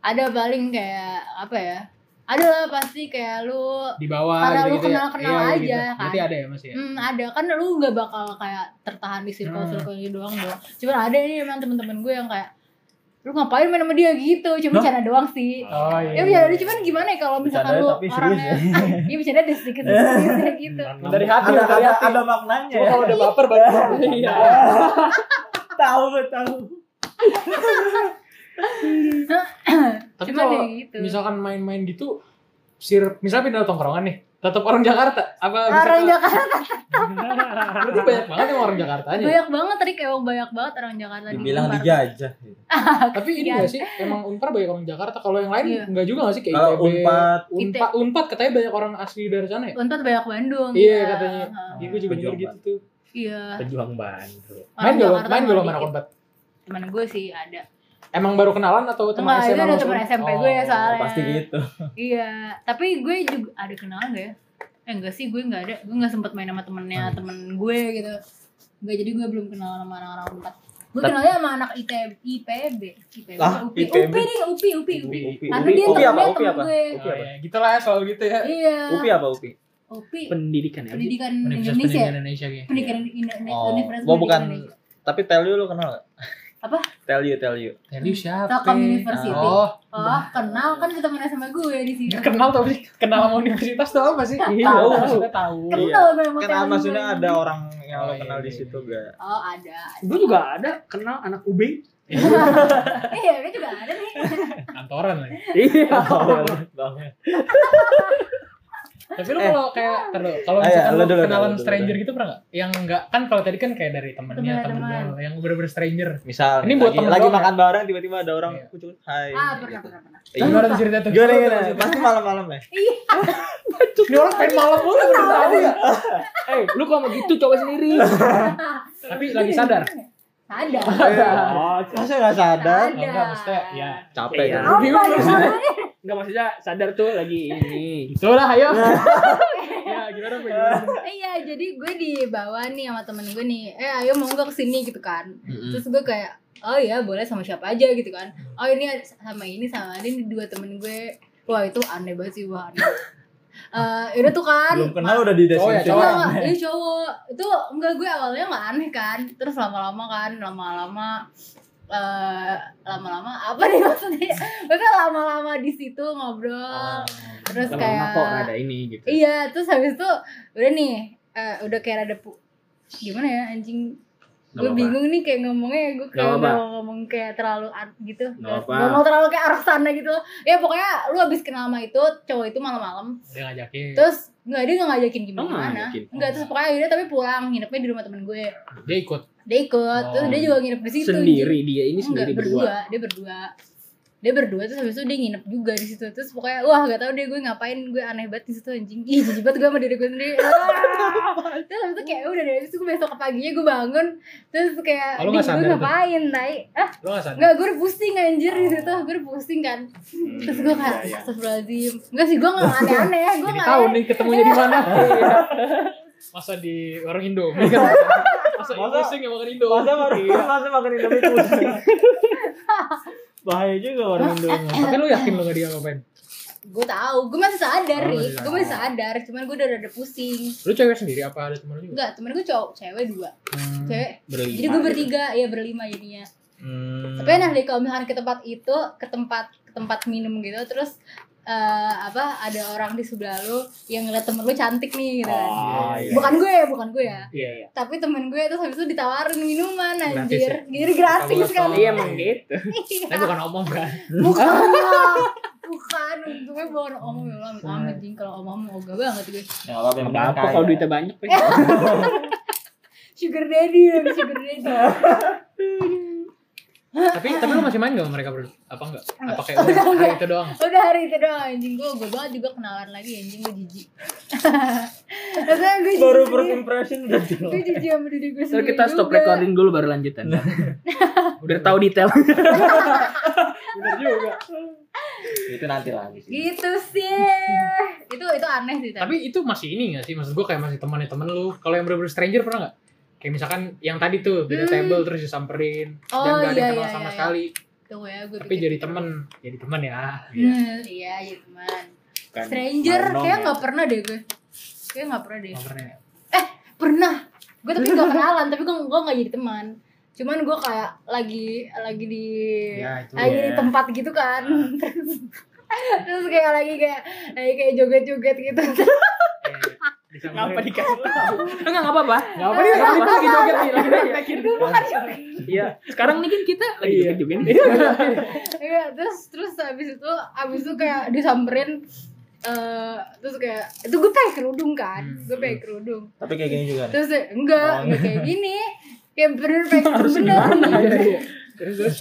ada paling kayak apa ya ada lah pasti kayak lu
Di bawah
Karena lu
gitu-gitu ya.
kenal-kenal
Iya,
aja,
gitu.
kan.
Berarti ada ya masih ya?
Hmm, ada kan lu nggak bakal kayak tertahan di circle
Hmm.
circle ini doang doang. Cuman ada nih emang temen-temen gue yang kayak lu ngapain main sama dia gitu, cuma
Hah?
bercanda doang sih.
Oh iya.
Ya bercanda doang, cuman gimana ya kalau misalkan
Bercandanya
lu
tapi serius
orangnya
ya.
Iya bercanda ada sedikit sedikit gitu.
Hmm,
Dari hati
Ada,
dari
ada,
hati.
ada maknanya.
Cuma kalau udah baper baru iya.
Tahu, gue tahu.
Tapi
cuman
kalau
ya gitu.
misalkan main-main gitu sir misalnya pindah tongkrongan nih tetap orang Jakarta apa bisa
Orang
ke-
Jakarta
berarti banyak banget yang orang Jakarta aja
banyak banget tadi kayak banyak banget orang Jakarta di
Dibilang
Unpar.
dijajah. gitu.
tapi ini
Iya.
gak sih emang unpar banyak orang Jakarta kalau yang lain
Iya.
nggak juga gak sih kayak
Kalau Unpad,
unpad unpad katanya banyak orang asli dari sana ya
Unpar banyak Bandung.
Iya,
ya.
katanya.
Heeh.
iya gue juga denger
Pejuang
gitu tuh
Iya.
Pejuang Bandung.
main
Orang
gak lo-
Jakarta
main
mah
gak lo sama anak
dikit.
unpad
Temen gue sih ada.
emang baru kenalan atau teman
Enggak, itu
SMA
ada
langsung?
temen SMP gue ya
Oh.
soalnya.
Pasti gitu.
Iya, tapi gue juga ada kenalan gak ya? Eh enggak sih, gue nggak ada. Gue nggak sempet main sama temennya temen gue gitu. Enggak, jadi gue belum kenal sama orang-orang tempat. Gue
Tapi-
kenalnya sama anak ITB, IPB, IPB,
Ah,
UPI,
IPB.
UPI nih, UPI, UPI, UPI.
Upi,
Karena
Upi
dia
apa? Upi
temennya temen
apa?
gue.
Upi
Oh,
apa?
iya. gitu lah ya selalu gitu ya
Iya,
Upi apa? Upi?
UPI,
Pendidikan ya.
pendidikan Indonesia.
Universitas
ya?
Pendidikan Indonesia kayak
Pendidikan Indonesia.
Oh, gua bukan- Tapi tell you lo kenal gak?
Apa?
Tell you, tell you.
Tadi siapa
Telkom University.
oh
Oh, kenal kan kita temennya sama gue di sini.
Nggak kenal tapi kenal sama universitas tuh apa sih? Iya,
Tahu.
maksudnya tahu.
Kenal gue sama
Kan
temen gue.
maksudnya ada orang yang
Oh,
lo
iya,
kenal di
iya,
situ gak?
Oh, ada.
Gue juga ada kenal anak UB.
Iya, dia juga ada nih.
Kantoran ya. lagi.
Iya.
Tapi lu
Eh.
kalau kayak tar dulu, kalau
Ah, iya,
misalkan
lu
lu
dulu,
kenalan
dulu, dulu,
stranger gitu pernah nggak? Yang nggak kan kalau tadi kan kayak dari temennya temen
Teman-teman.
lu yang bener-bener stranger.
Misal
Ini
ini
buat
buat lagi,
temen
lagi
doang,
makan bareng tiba-tiba ada orang
Iya.
kucuk hai.
Ah, pernah,
gitu.
pernah, pernah.
Iya.
Gimana tuh cerita tuh?
Gimana gimana? Pasti malam-malam ya.
Ini orang pengen malam mulu ya. dari tadi.
Eh, lu kok mau gitu coba sendiri.
Tapi lagi sadar. iya.
Sadar.
Masa enggak sadar?
Sadar.
Oh, Enggak, maksudnya ya.
Capek
Iya.
kan.
Apa
Bingung
ya?
maksudnya.
Enggak maksudnya sadar tuh lagi ini. Gitu
Itulah ayo. ya gimana Pak? Gimana?
Eh, iya jadi gue dibawa nih sama temen gue nih eh ayo mau nggak kesini gitu kan terus gue kayak oh iya boleh sama siapa aja gitu kan oh ini ada- sama ini sama ini dua temen gue wah itu aneh banget sih wah aneh Eh, udah tuh kan
belum kenal udah di
Oh, ya,
deskripsi
Enggak,
cowok.
enggak. Ini Iya, cowok. Itu enggak gue awalnya enggak aneh kan. Terus lama-lama kan, lama-lama eh lama-lama apa nih maksudnya? Mereka lama-lama di situ ngobrol. Terus
Ah, Lama-lama
kayak
kok ada ini gitu.
Iya, terus habis itu udah nih eh, udah kayak ada pu- gimana ya anjing
Nggak
gue
apa-apa.
bingung nih kayak ngomongnya gue
Nggak
kayak
apa-apa.
udah mau ngomong kayak terlalu art gitu
Nggak apa-apa.
Nggak mau terlalu kayak arah sana gitu ya pokoknya lu abis kenal sama itu cowok itu malam-malam
Dia ngajakin.
terus nggak dia nggak ngajakin gimana
Oh, nggak
gimana
ngajakin.
nggak terus pokoknya akhirnya tapi pulang nginepnya di rumah temen gue
Dia ikut.
dia ikut terus
Oh.
dia juga nginep di situ
Sendiri dia ini
Enggak,
sendiri
berdua.
berdua.
dia berdua dia berdua terus habis itu dia nginep juga di situ terus pokoknya wah gak tau deh gue ngapain gue aneh banget di situ anjing ih jijik banget gue sama diri gue sendiri Ah. terus habis itu kayak udah dari situ gue besok paginya gue bangun terus kayak
Oh, lu
"Dih,
nggak
gue
sadar tuh?
ngapain tai ah
Lo nggak sadar?
nggak gue udah pusing anjir di situ gue udah pusing kan
Hmm,
terus gue
iya,
kayak astagfirullahaladzim enggak sih gue nggak aneh-aneh gue
Jadi
nggak ya?
tahu
aneh.
nih ketemunya di mana. Masa di warung Indo. Masa yang
Masa-
pusing yang makan Indo.
masa baru masa makan indomie pusing bahaya juga warung indomie
Tapi lu yakin lo gak dia ngapain?
gue tahu gue masih sadar
Oh,
nih
iya.
gue masih sadar cuman gue udah ada pusing
Lu cewek sendiri apa ada temen lu juga?
enggak temen gue cowok cewek dua
Hmm.
cewek
Berlima.
jadi gue bertiga ya berlima jadinya
Hmm.
tapi enak deh kalau misalkan ke tempat itu ke tempat ke tempat minum gitu terus eh, apa ada orang di sebelah lu yang ngeliat temen lu cantik nih gitu kan
Ah, iya.
bukan gue ya bukan gue ya
Iya iya.
tapi temen gue terus habis itu ditawarin minuman
Gratis
anjir
ya?
jadi gratis
Gratis,
kan
oh.
Iya emang gitu.
Tapi bukan omong kan.
bukan bukan untungnya bukan omong ya amit amit jing kalau omong omong ogah banget gue
Ya, nggak apa-apa, yang penting
Apa
kaya.
kalau duitnya banyak Pe?
sugar daddy lagi sugar daddy
tapi tapi lu masih main gak sama mereka berdua? Apa enggak? Apa kayak udah hari itu doang?
udah hari itu doang anjing gue gue banget juga kenalan lagi anjing gue jijik Maksudnya gue jijik
baru
sendiri.
first impression udah jelek.
gue jijik sama diri gue
Terus
sendiri
kita stop
juga.
recording dulu baru lanjutan. Udah tahu detail.
Bener juga.
itu nanti lagi sih
gitu sih itu itu aneh sih
tapi itu masih ini gak sih? Maksud gua kayak masih temannya temen lu. Kalau yang bener-bener stranger pernah gak? Kayak misalkan yang tadi tuh beda
Hmm.
table terus disamperin
Oh,
dan gak ada
iya,
yang kenal
iya,
sama
iya,
sekali.
Tuh ya gue
Tapi jadi temen, jadi temen ya.
Hmm, iya jadi teman
Bukan
stranger
Marno,
kayak
ya.
nggak pernah deh gue kayak nggak pernah deh
Nggak pernah ya?
pernah gue tapi nggak kenalan tapi gue gue nggak jadi teman cuman gue kayak lagi lagi di
Ya, Ah. itu
lagi di
ya.
tempat gitu kan terus terus kayak lagi kayak lagi kayak joget-joget gitu
Eh, disamperin.
Ngapa dikasih tahu? Enggak enggak apa-apa.
Nggak apa-apa, nggak apa-apa. Lagi joget nih, lagi joget.
Iya. Sekarang nih kan kita lagi
Iya.
joget juga nih.
Iya, terus terus abis itu abis itu kayak disamperin eh terus kayak itu gue pakai kerudung kan,
Hmm.
gue pakai kerudung.
tapi kayak gini juga nih
Terus dia, enggak,
Oh,
enggak kayak gini. Kayak bener pakai kerudung bener.
ya? Iya. Terus terus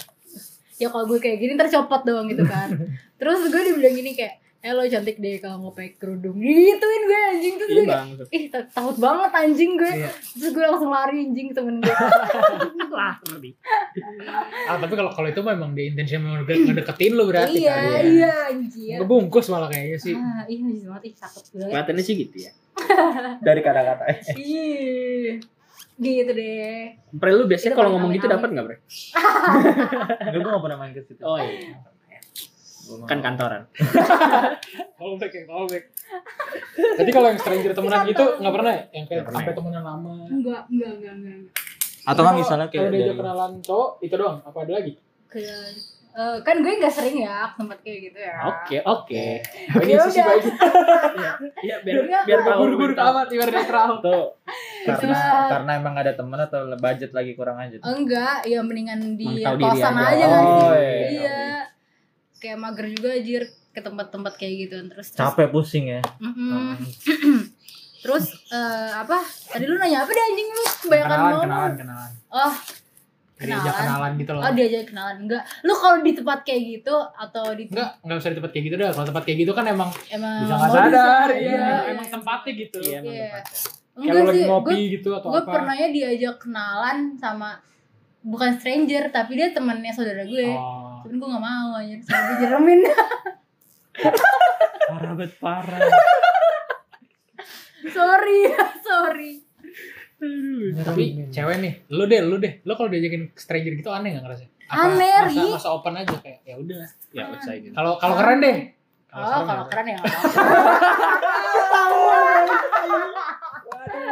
Ya kalau gue kayak gini ntar copot doang gitu kan. terus gue dibilang gini kayak, "Eh lo cantik deh kalau mau pakai kerudung." Gituin gue anjing terus gue kayak,
Iya, Bang.
ih ta- takut banget anjing gue.
Iya.
Terus gue langsung lari anjing ke temen gue.
Lah, Robi.
ah tapi kalau kalau itu memang dia intention mau ngede- ngedeketin lu berarti
iya,
ya.
kan?
iya anjir.
Ngebungkus malah kayaknya sih.
Ah, ih, anjing banget, ih, sakit banget.
Kelihatannya sih gitu ya.
dari kata-kata eh.
Ih, gitu deh.
Pre lu biasanya
Itu
kalau
Iya, paling
ngomong gitu
amin-amin.
dapat enggak, Pre?
Enggak, gue gak pernah main ke situ
Oh iya.
Gua mau-
Kan kantoran.
Callback ya, callback. Tapi kalau yang stranger temenan gitu nggak pernah ya? Yang kayak
Nggak pernah.
sampai temenan lama.
Enggak, enggak, enggak, enggak. enggak.
atau nggak misalnya
kalau
kayak
diajak
dari
kenalan cowok itu doang, apa ada lagi?
Kayak, eh, kan gue nggak sering ya ke tempat kayak gitu ya.
Oke, oke.
Oh, ini
Ya
sisi
udah.
baik.
Iya, biar
Enggak,
biar tahu.
Buru-buru
biar tahu.
amat ibarat netral.
atau karena
Cuma-
karena emang gak ada temen atau budget lagi kurang aja tuh?
Enggak, ya mendingan di
Mantau diri
kosan
aja.
aja, nggak sih?
Oh,
iya.
iya.
Kayak mager juga anjir ke tempat-tempat kayak gitu terus terus,
capek pusing ya
Mm-mm. terus eh, apa tadi lu nanya apa deh anjing lu kebanyakan
Kenalan,
ngomong
kenalan, kenalan.
oh
Kayak Diajak
Kenalan.
kenalan gitu loh.
oh diajak kenalan enggak lu kalau di tempat kayak gitu atau di
Enggak, enggak usah di tempat kayak gitu dah. Kalau tempat kayak gitu kan emang
emang
bisa nggak
modus
sadar,
aja.
iya, emang tempatnya gitu.
Iya, emang
Iya.
tempatnya.
Kayak
enggak
lu lagi
sih gue
ngopi gitu atau
gue
apa.
pernahnya diajak kenalan sama bukan stranger tapi dia temannya saudara gue
Oh.
cuman gue gak mau anjir sama dia jeremin
Parah banget parah.
sorry sorry
Tapi cewek nih, lu deh, lu deh. Lu kalau diajakin stranger gitu aneh gak ngerasa?
Aneh,
masa,
Ri.
masa open aja kayak ya udah.
ya usai gitu.
Kalau kalau keren deh.
oh
serem
kalau
ya.
keren ya nggak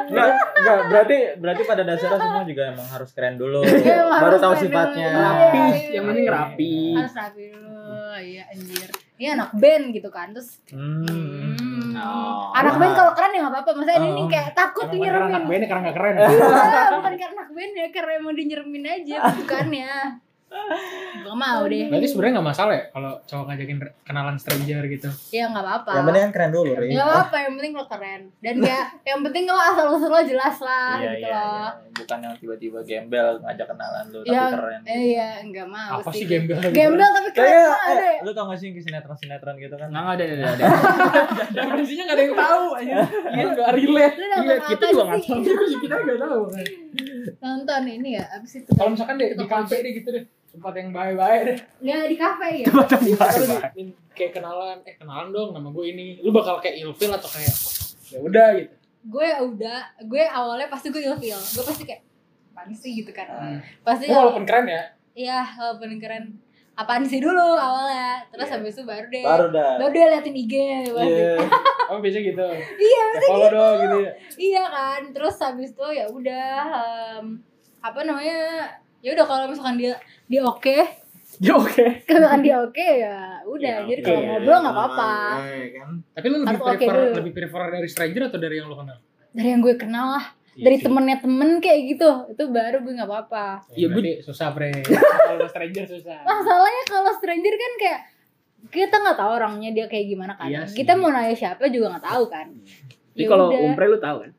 Enggak, enggak, berarti berarti pada dasarnya semua juga emang harus keren dulu.
Iya, emang
baru
harus
tahu
keren
sifatnya.
dulu.
rapi
Iya, iya,
yang penting
iya.
rapi
harus rapi dulu iya anjir ini anak band gitu kan terus
Hmm.
hmm,
Oh.
anak band kalau keren ya nggak apa-apa masa ini
Oh.
nih kayak takut
Emang beneran anak
nyeremin
bandnya karena gak keren.
Ah, bukan karena anak band ya karena emang dia nyeremin aja bukannya gak mau deh
Berarti sebenarnya gak masalah ya kalau cowok ngajakin re- kenalan stranger gitu.
ya nggak apa-apa
Yang penting kan keren dulu, Ri.
Gak apa-apa, yang penting lo keren Dan kayak, yang penting lo asal usul lo jelas
Iya,
lah gitu
iya,
loh
iya. Bukan yang tiba-tiba gembel ngajak kenalan lu tapi
Iya,
keren.
eh, iya, enggak mau
Apa sih
sih
gembel? gitu?
Gembel tapi keren Nah,
Kayak
banget
eh,
deh
lu tau gak sih yang sinetron-sinetron gitu kan?
nggak nggak ada ada ada
Definisinya gak ada yang tahu aja. Iya gak relate.
Lu
Iya,
nonton
kita
apa
juga nggak
sih?
tahu
Kita gak tahu. kan.
Nonton ini ya, abis itu
Kalau misalkan deh di kafe deh gitu deh. Tempat yang baik-baik deh.
Nggak di kafe ya
Terus di- kayak kenalan, eh kenalan dong nama gue ini. Lu bakal kayak ilfil atau kayak ya udah gitu.
Gue ya udah, gue awalnya pasti gue ilfil Gue pasti kayak, apaan sih gitu
Ah, iya.
kan Pasti
Lu walaupun keren ya,
Iya, walaupun keren Apaan sih dulu awalnya Terus
Iya.
habis itu baru deh
Baru dah.
Baru deh liatin IG pasti.
Iya.
apa biasanya gitu.
Iya,
Ya, follow dong gitu. ya.
Iya kan, terus habis itu ya udah em, apa namanya? Ya udah kalau misalkan dia dia oke,
Ya oke.
kalau misalkan dia oke ya udah. Jadi
Iya, oke.
kalau ngobrol nggak apa-apa.
Iya, kan?
Tapi lu lebih
Harus oke
prefer
dulu.
lebih prefer dari stranger atau dari yang lu kenal?
Dari yang gue kenal lah,
Iya
dari
sih.
temennya temen kayak gitu, itu baru gue nggak apa-apa.
Ya,
Ya,
berarti susah pre. Kalau stranger susah.
Masalahnya kalau stranger kan kayak kita nggak tahu orangnya dia kayak gimana kan.
Iya sih. Iya.
kita mau nanya siapa juga nggak tahu kan.
jadi kalau
udah.
umpre lu tahu kan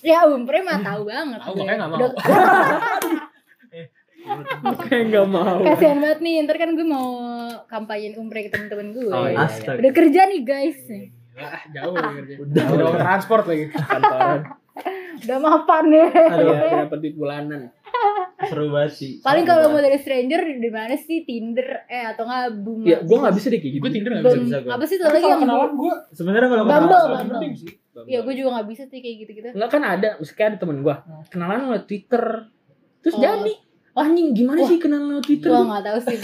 ya umpre mah tahu banget.
Tahu makanya nggak mau.
Udah-
kayak nggak mau
Kasihan banget nih, ntar kan gue mau kampanyein umpre ke temen-temen gue.
Oh, iya.
Astaga.
Udah kerja nih guys.
Ah, jauh ya kerja.
Udah,
Udah
udah.
over transport lagi.
kantoran
Udah mapan ya.
Aduh,
Iya, dapat duit bulanan
seru banget sih.
Paling
Seru
kalau mau
banget.
dari stranger di mana sih Tinder eh atau enggak Bumble?
ya gue nggak bisa deh kayak gitu
Gue Tinder nggak
Bum-
bisa.
bisa gua.
apa sih tuh
Tapi
Iya, lagi
kalau
yang
kenalan gue
sebenarnya kalau
Bumble,
kenalan-
Bumble.
penting sih.
Ya gue juga nggak bisa sih kayak gitu-gitu.
nggak kan ada maksudnya ada temen gue kenalan lewat twitter terus
Oh.
jadi Wah, anjing gimana sih kenalan lewat twitter
Gue nggak tahu sih.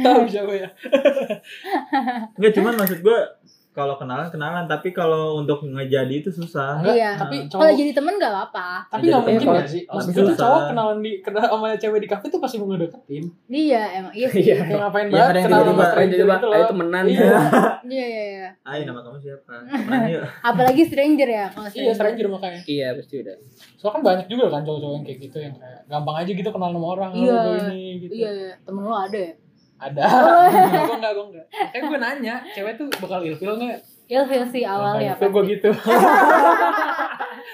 Tahu siapa ya?
Enggak cuman maksud gue kalau kenalan kenalan tapi kalau untuk ngejadi itu susah.
Iya.
Tapi
Kalau
Nah, cowok
jadi temen nggak apa-apa.
tapi nggak
Jadi
mungkin
kalau-
ya sih.
kalau
Maksudnya tuh
susah.
cowok kenalan di kenal sama cewek di kafe tuh pasti mau ngedeketin.
Iya emang iya sih.
Iya.
Kayak ngapain
Iya, ada
banget
yang
kenalan sama
tiba-tiba-
Jadi
stranger
coba,
gitu
ayo
loh.
temenan.
Iya.
Iya iya iya.
Ayo nama kamu siapa? Mana yuk?
Apalagi stranger ya kalau
Iya,
stranger.
stranger makanya.
Iya, pasti udah.
Soalnya kan banyak juga kan cowok-cowok yang kayak gitu yang kayak gampang aja gitu kenal sama orang
Iya.
"Halo, gue ini gitu.
Iya iya. Temen lo ada ya?
Ada. gue enggak, gue enggak. Kayak gue nanya, cewek tuh bakal ilfil enggak?
Ilfil sih awalnya.
Ilfil gue
ya, pasti.
gitu.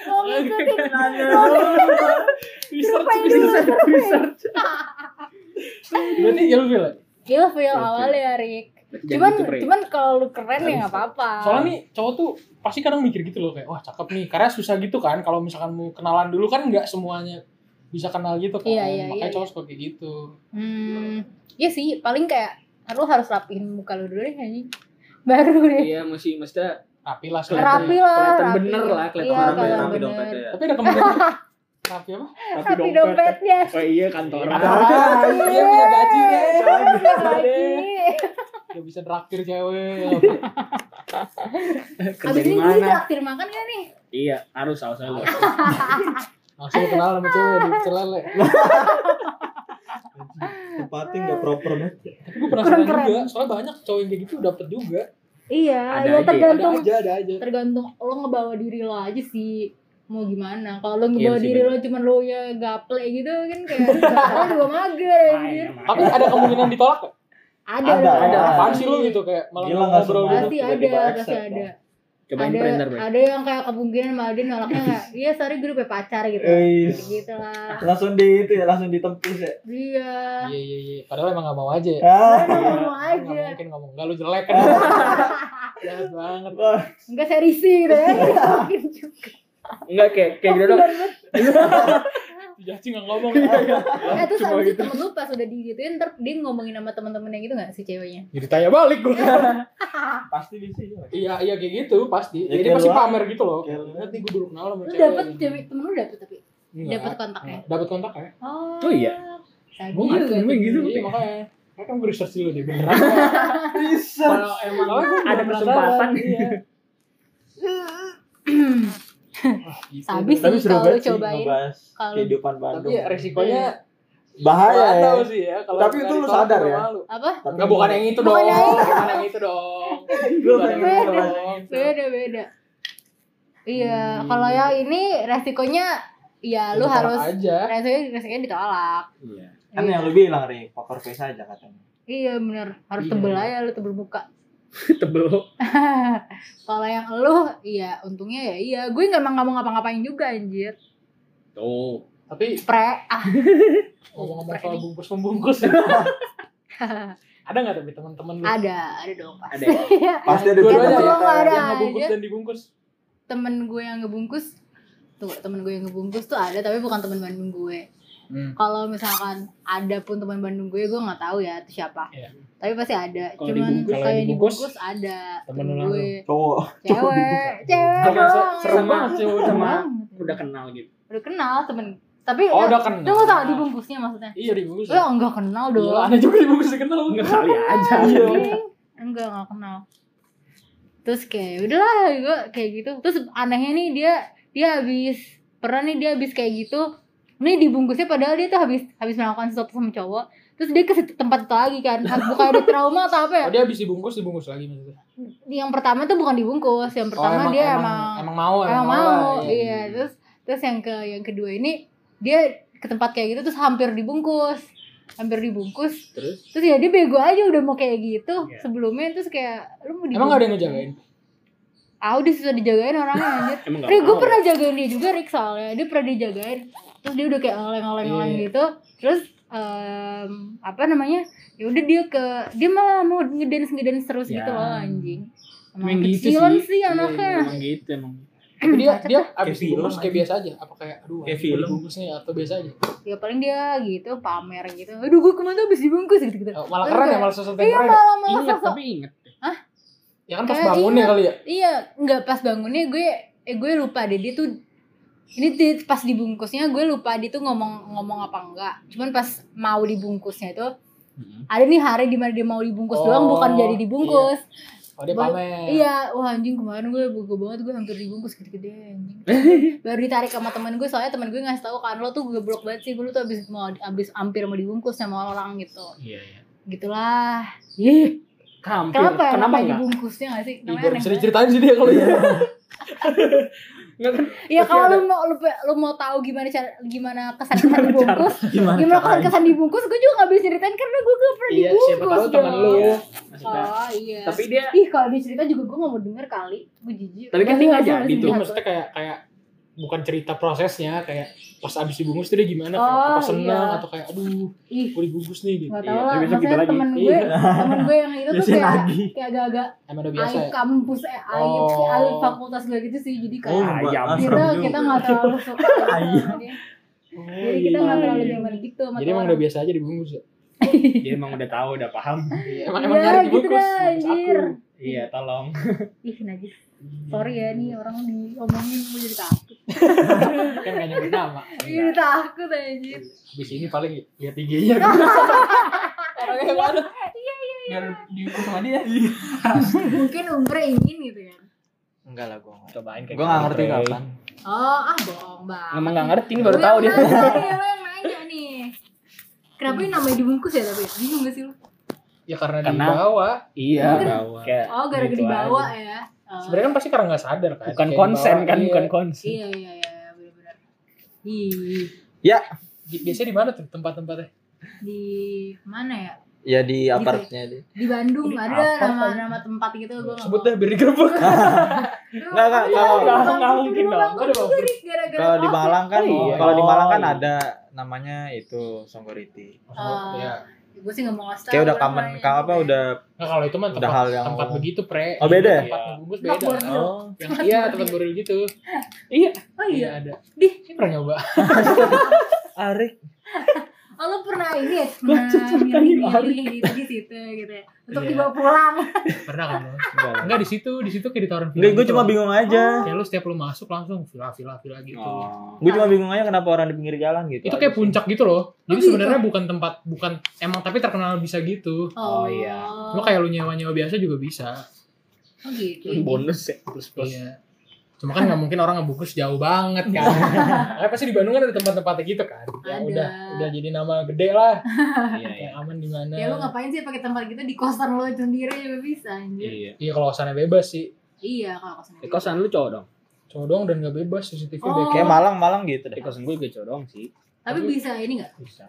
Mau ngikutin.
Nanya.
Research,
Ngapain dulu,
research,
ngapain?
research. Berarti ilfil. ya?
Ilfil awalnya ya, Rick.
Berarti jangan
Cuman
gitu, Pre.
cuman kalau lu keren ya nggak apa-apa.
Soalnya nih cowok tuh pasti kadang mikir gitu loh kayak wah cakep nih karena susah gitu kan kalau misalkan mau kenalan dulu kan nggak semuanya bisa kenal gitu kan
Iya, iya,
makanya
iya,
cowok suka kayak gitu
Hmm, iya sih, paling kayak lu harus rapihin muka lu dulu deh anjing. Baru deh.
Iya, masih maksudnya
rapi lah
Kelihatan-
Rapi lah.
kelihatan
rapi.
bener lah, kelihatan
iya,
Orang punya
bener.
kalau
rapi
bener.
dompetnya ya.
tapi ada kemungkinan rapi apa
Rapi dompetnya.
Oh iya, kantoran.
Ah, iya punya gaji deh
Lagi.
Gak bisa traktir cewek
Kerja
Abis
di
ini gue
mana?
traktir makan gak nih?
Iya, harus harus harus.
langsung kenal sama cewek di celele
Tempatnya nggak proper banget.
tapi gue penasaran
Keren, keren.
juga soalnya banyak cowok yang kayak gitu dapet juga
Iya,
Ada
ya
aja,
ada
tergantung
aja ada aja
tergantung lo ngebawa diri lo aja sih mau gimana kalau lo
Iya
ngebawa
sih,
diri
bener.
lo cuman lo ya gaple gitu kan kayak lo juga mager anjir
tapi ada kemungkinan ditolak gak?
ada
Ada,
dong.
ada.
apaan sih lu gitu kayak malah
Gila, nggak
ngobrol
semua.
gitu
pasti ada
Tiba-tiba
pasti
accept
ada
Cobain
ada, ah.
printer, Bre.
ada yang kayak kemungkinan malah dia nolaknya nggak iya sorry gue udah punya pacar gitu
Eh,
gitu lah
langsung di itu ya, langsung ditempus ya.
iya
iya iya iya padahal emang gak mau aja ya
Ah,
Padahal nggak mau
Nggak
aja.
mungkin ngomong enggak lu jelek kan jahat banget
wah,
enggak serisi gitu ya Mungkin juga.
Enggak kayak kayak gitu dong.
Jaci nggak ngomong.
Eh terus
Cuma
abis itu
gitu.
temen lu pas udah digituin ntar dia ngomongin sama temen-temen yang gitu gak si ceweknya?
Jadi tanya balik gue.
Pasti ya. di sini.
iya iya kayak gitu pasti.
Ya,
Jadi
kayak
pasti
lu-
pamer gitu loh.
kayak lu-
Nanti gue dulu kenal sama
Lu
cewek.
dapet, cewek- temen lu dapet tapi?
Enggak.
Dapet ya? kontaknya?
Dapet ya? kontaknya.
Oh,
Oh iya.
Tadi
Gua nggak
juga
temen
tuh.
gitu.
Iya makanya. Kayak kan gue research dulu deh beneran.
Bisa.
emang
ada kesempatan.
iya. Habis
Tapi
sih Iya.
seru
kalau lu
banget sih
cobain.
ngebahas
Kalau-
kehidupan
gitu. Tapi
Bandung.
ya resikonya
Iya.
bahaya
nggak
ya.
tahu sih ya. Kalau
Tapi itu lu
ditolak
sadar
juga
ya?
malu.
Apa?
Tapi
Enggak bukan yang itu
Bukan
dong.
yang itu.
Bukan yang itu dong.
Gua
Bukan
pengen
yang itu
ngebahas
dong.
Beda-beda. Iya,
Hmm.
kalau yang ini resikonya ya lu
Ditolak
harus
aja.
resikonya, resikonya ditolak.
Iya. Kan
Iya,
yang lu bilang Rik, poker face aja katanya.
iya bener harus
Iya.
tebel aja lu tebel muka.
Tebel.
kalau yang lu iya untungnya ya iya gue nggak emang nggak mau ngapa-ngapain juga anjir.
Tuh.
Tapi
Pre ah
ngomong-ngomong
Pre
soal
nih.
bungkus membungkus. ada nggak tapi teman-teman lu?
ada ada dong pasti.
Ada ya?
Iya.
Pasti ada
Dua-duanya
cerita
doang nggak
cerita.
ada.
Iya. Yang ngebungkus
aja.
dan dibungkus.
temen gue yang ngebungkus tuh temen gue yang ngebungkus tuh ada tapi bukan temen Bandung gue
Hmm.
kalau misalkan ada pun teman Bandung gue gue nggak tahu ya itu siapa
Iya.
tapi pasti ada
Kalau
cuman
dibungkus-
kalau
kalau
yang
dibungkus,
dibungkus, ada
temen
temen
lu
gue
Cowok.
cewek cewek
Kalau se-
doang
serem
yang
banget
dibungkus.
sih, udah
Serem
mah.
banget.
Udah kenal gitu.
udah kenal temen tapi
Oh,
udah
udah kenal.
tunggu tau dibungkusnya maksudnya
Iya dibungkus.
lo enggak kenal
Iya,
dong
aneh juga dibungkus dikenal.
Oh,
Enggak kali ya, aja.
Iya.
Anjing. enggak enggak kenal terus kayak udahlah gue kayak gitu terus anehnya nih dia dia habis pernah nih dia habis kayak gitu nih dibungkusnya padahal dia tuh habis habis melakukan sesuatu sama cowok terus dia ke situ- tempat itu lagi kan bukan ada trauma atau apa ya
Oh dia habis dibungkus dibungkus lagi maksudnya.
yang pertama tuh bukan dibungkus yang pertama dia Oh, emang
emang mau
emang mau
lah,
iya terus terus yang ke yang kedua ini dia ke tempat kayak gitu terus hampir dibungkus hampir dibungkus
Terus?
terus ya dia bego aja udah mau kayak gitu
Iya.
sebelumnya terus kayak lu mau
Emang
dibungkus
gak ada yang ngejagain?
ah udah susah dijagain orangnya anjir
Emang enggak.
Rik, gue pernah jagain dia juga Rik soalnya Dia pernah dijagain Terus dia udah kayak oleng-oleng-oleng
Iya.
gitu Terus em, Apa namanya ya udah dia ke Dia malah mau ngedance-ngedance terus
Ya.
gitu loh anjing Emang
Emang gitu
kecilan
sih.
sih,
Iya,
anaknya
Emang gitu emang.
Tapi dia dia abis
film
dibungkus kayak
aja.
biasa aja. Apa kayak
Kayak
aduh anjing, gua
film.
dibungkus nih atau biasa aja.
Ya paling dia gitu pamer gitu Aduh gue kemana tuh abis dibungkus gitu-gitu
Eh, Malah keren ya malah sesuatu yang
Iya
keren. ya?
malah malah
Ingat
sosok
tapi ingat.
Ya kan pas
Kayak
bangunnya kali ya.
Iya nggak pas bangunnya gue eh, gue lupa deh dia tuh ini di- pas dibungkusnya gue lupa dia tuh ngomong ngomong apa enggak cuman pas mau dibungkusnya itu
Hmm.
ada nih hari dimana dia mau dibungkus
Oh,
doang bukan jadi dibungkus
Oh dia
Ba-
pamer.
iya wah anjing kemarin gue bego banget gue hampir dibungkus gede-gede anjing baru ditarik sama temen gue soalnya temen gue ngasih tahu kan lo tuh goblok banget sih gue tuh abis mau abis hampir mau dibungkus sama orang gitu
Iya, iya.
gitulah
Ih, hampir.
kenapa ya
Kenapa
namanya
enggak?
dibungkusnya nggak sih
Ih,
namanya
baru
aneh Iya.
Iya, bisa
banget.
diceritain sih dia kalau ya.
Enggak kan?
Iya
Pasti
kalau
ada.
lu mau lu, lu mau tahu gimana cara gimana kesan kesan dibungkus,
Gimana?
gimana kesan
caranya?
kesan dibungkus, gue juga nggak bisa ceritain karena gue gak pernah
Iya,
dibungkus.
siapa tahu
dong.
teman lu.
Maksudnya,
Oh iya.
Tapi dia
Ih kalau diceritain juga gue gak mau denger kali, gue jijik.
Tapi kan
Gue
dia nggak jadi
ngerasa
tuh.
masih
Dia
jahat.
gitu. maksudnya kayak kayak bukan cerita prosesnya kayak pas abis dibungkus tuh dia gimana
Oh,
kayak apa
iya.
senang atau kayak aduh
Ih
gue dibungkus nih gitu
gak
Iya,
tau lah,
tapi besok
maksudnya
kita lagi.
temen gue,
Iya.
temen gue yang itu tuh
Biasanya
kayak
lagi.
kayak agak-agak
emang udah biasa
aib
ya
kampus eh aib sih
Oh.
aib fakultas gue gitu sih jadi
Oh,
ya
kayak
Mbak,
Ayam.
ah,
kita
serem
kita
juga.
nggak terlalu suka sama dia.
Oh,
jadi kita
iya.
nggak terlalu nyaman gitu sama
jadi emang
orang.
udah biasa aja dibungkus ya
dia emang udah tahu, udah paham.
emang emang
Iya,
nyari
gitu
dibungkus
dah,
bungkus
anjir.
aku
Iya, tolong.
ih najis sorry ya nih orang diomongin gue jadi takut
kan gak nyebut nama
jadi takut anjir
abis ini paling ya. lihat IG-nya orangnya yang mana biar dibungkus sama dia
mungkin umurnya ingin gitu kan
Enggak lah gue.
Cobain kayak
Gue gak ngerti
gitu, Ray.
kapan.
oh ah bohong bang
Emang gak ngerti, ini baru
Iya,
tahu dia.
lo yang nanya nih kenapa ini namanya dibungkus ya tapi bingung gak sih lu
ya karena
Karena-
dibawa
Iya.
Bawah.
Kayak
oh gara-gara
gitu
dibawa
aja.
ya Oh.
sebenarnya kan pasti karena nggak sadar kan
Bukan
Kayak
konsen
dibawa,
kan,
iya.
bukan konsen.
iya iya iya benar-benar Ih.
Bi- biasanya di mana tuh tempat-tempatnya
di mana ya
Ya di
Gitu.
apartnya dia.
di Bandung ada
apa
nama
lagi?
nama tempat gitu gue
sebut deh biar digerebek
Nggak, nggak, nggak,
nggak mungkin dong. Nggak ada bang.
Kalau di Malang kan,
Oh, iya.
kalau di Malang kan
Oh, iya.
ada namanya itu Songgoriti.
Ah.
Iya.
gue sih nggak mau ngasih
Kayak udah
orang
common,
lain.
ka- apa udah
Nah, kalau itu mah
Udah
tempat,
hal yang-
tempat begitu, Pre.
Oh, beda ya?
Tempat
Iya.
bungkus
Tempat
beda.
boril.
oh,
Yang, iya, tempat boril gitu.
oh
Iya,
iya
ada.
Dih.
Ini pernah nyoba.
Arik.
Oh, lu pernah ini ya?
Gua
Pernah
cucur kayu hari.
milih-milih gitu di situ gitu ya. Untuk
Iya.
dibawa pulang.
Pernah kan lo?
Enggak.
Enggak di situ, di situ kayak ditawarin film.
Enggak, gue
gitu
cuma
loh.
bingung aja.
Kayak lu setiap lu masuk langsung villa villa villa gitu.
Oh,
Gue cuma bingung aja kenapa orang di pinggir jalan gitu.
Itu kayak puncak gitu loh. Jadi
gitu?
sebenarnya bukan tempat bukan emang tapi terkenal bisa gitu.
Oh, iya.
Lo kayak lu nyewa-nyewa biasa juga bisa.
Oh gitu.
bonus ya plus plus
Iya. Cuma kan nggak mungkin orang ngebukus jauh banget kan. Makanya pasti di Bandung kan ada tempat-tempatnya gitu kan. Ya
Ada.
udah, udah jadi nama gede lah.
iya iya
Yang aman di mana.
Ya lu ngapain sih pakai tempat gitu di kosan lo sendiri juga bisa anjir.
iya
Iya kalau sana bebas sih.
Iya, kalau kosan.
Eh, kosan lu cowok dong
Cowok doang dan nggak bebas CCTV
Oh.
udah
Kayak malang-malang gitu deh.
Eh, kosan gue juga cowok dong sih
Tapi bisa ini enggak?
bisa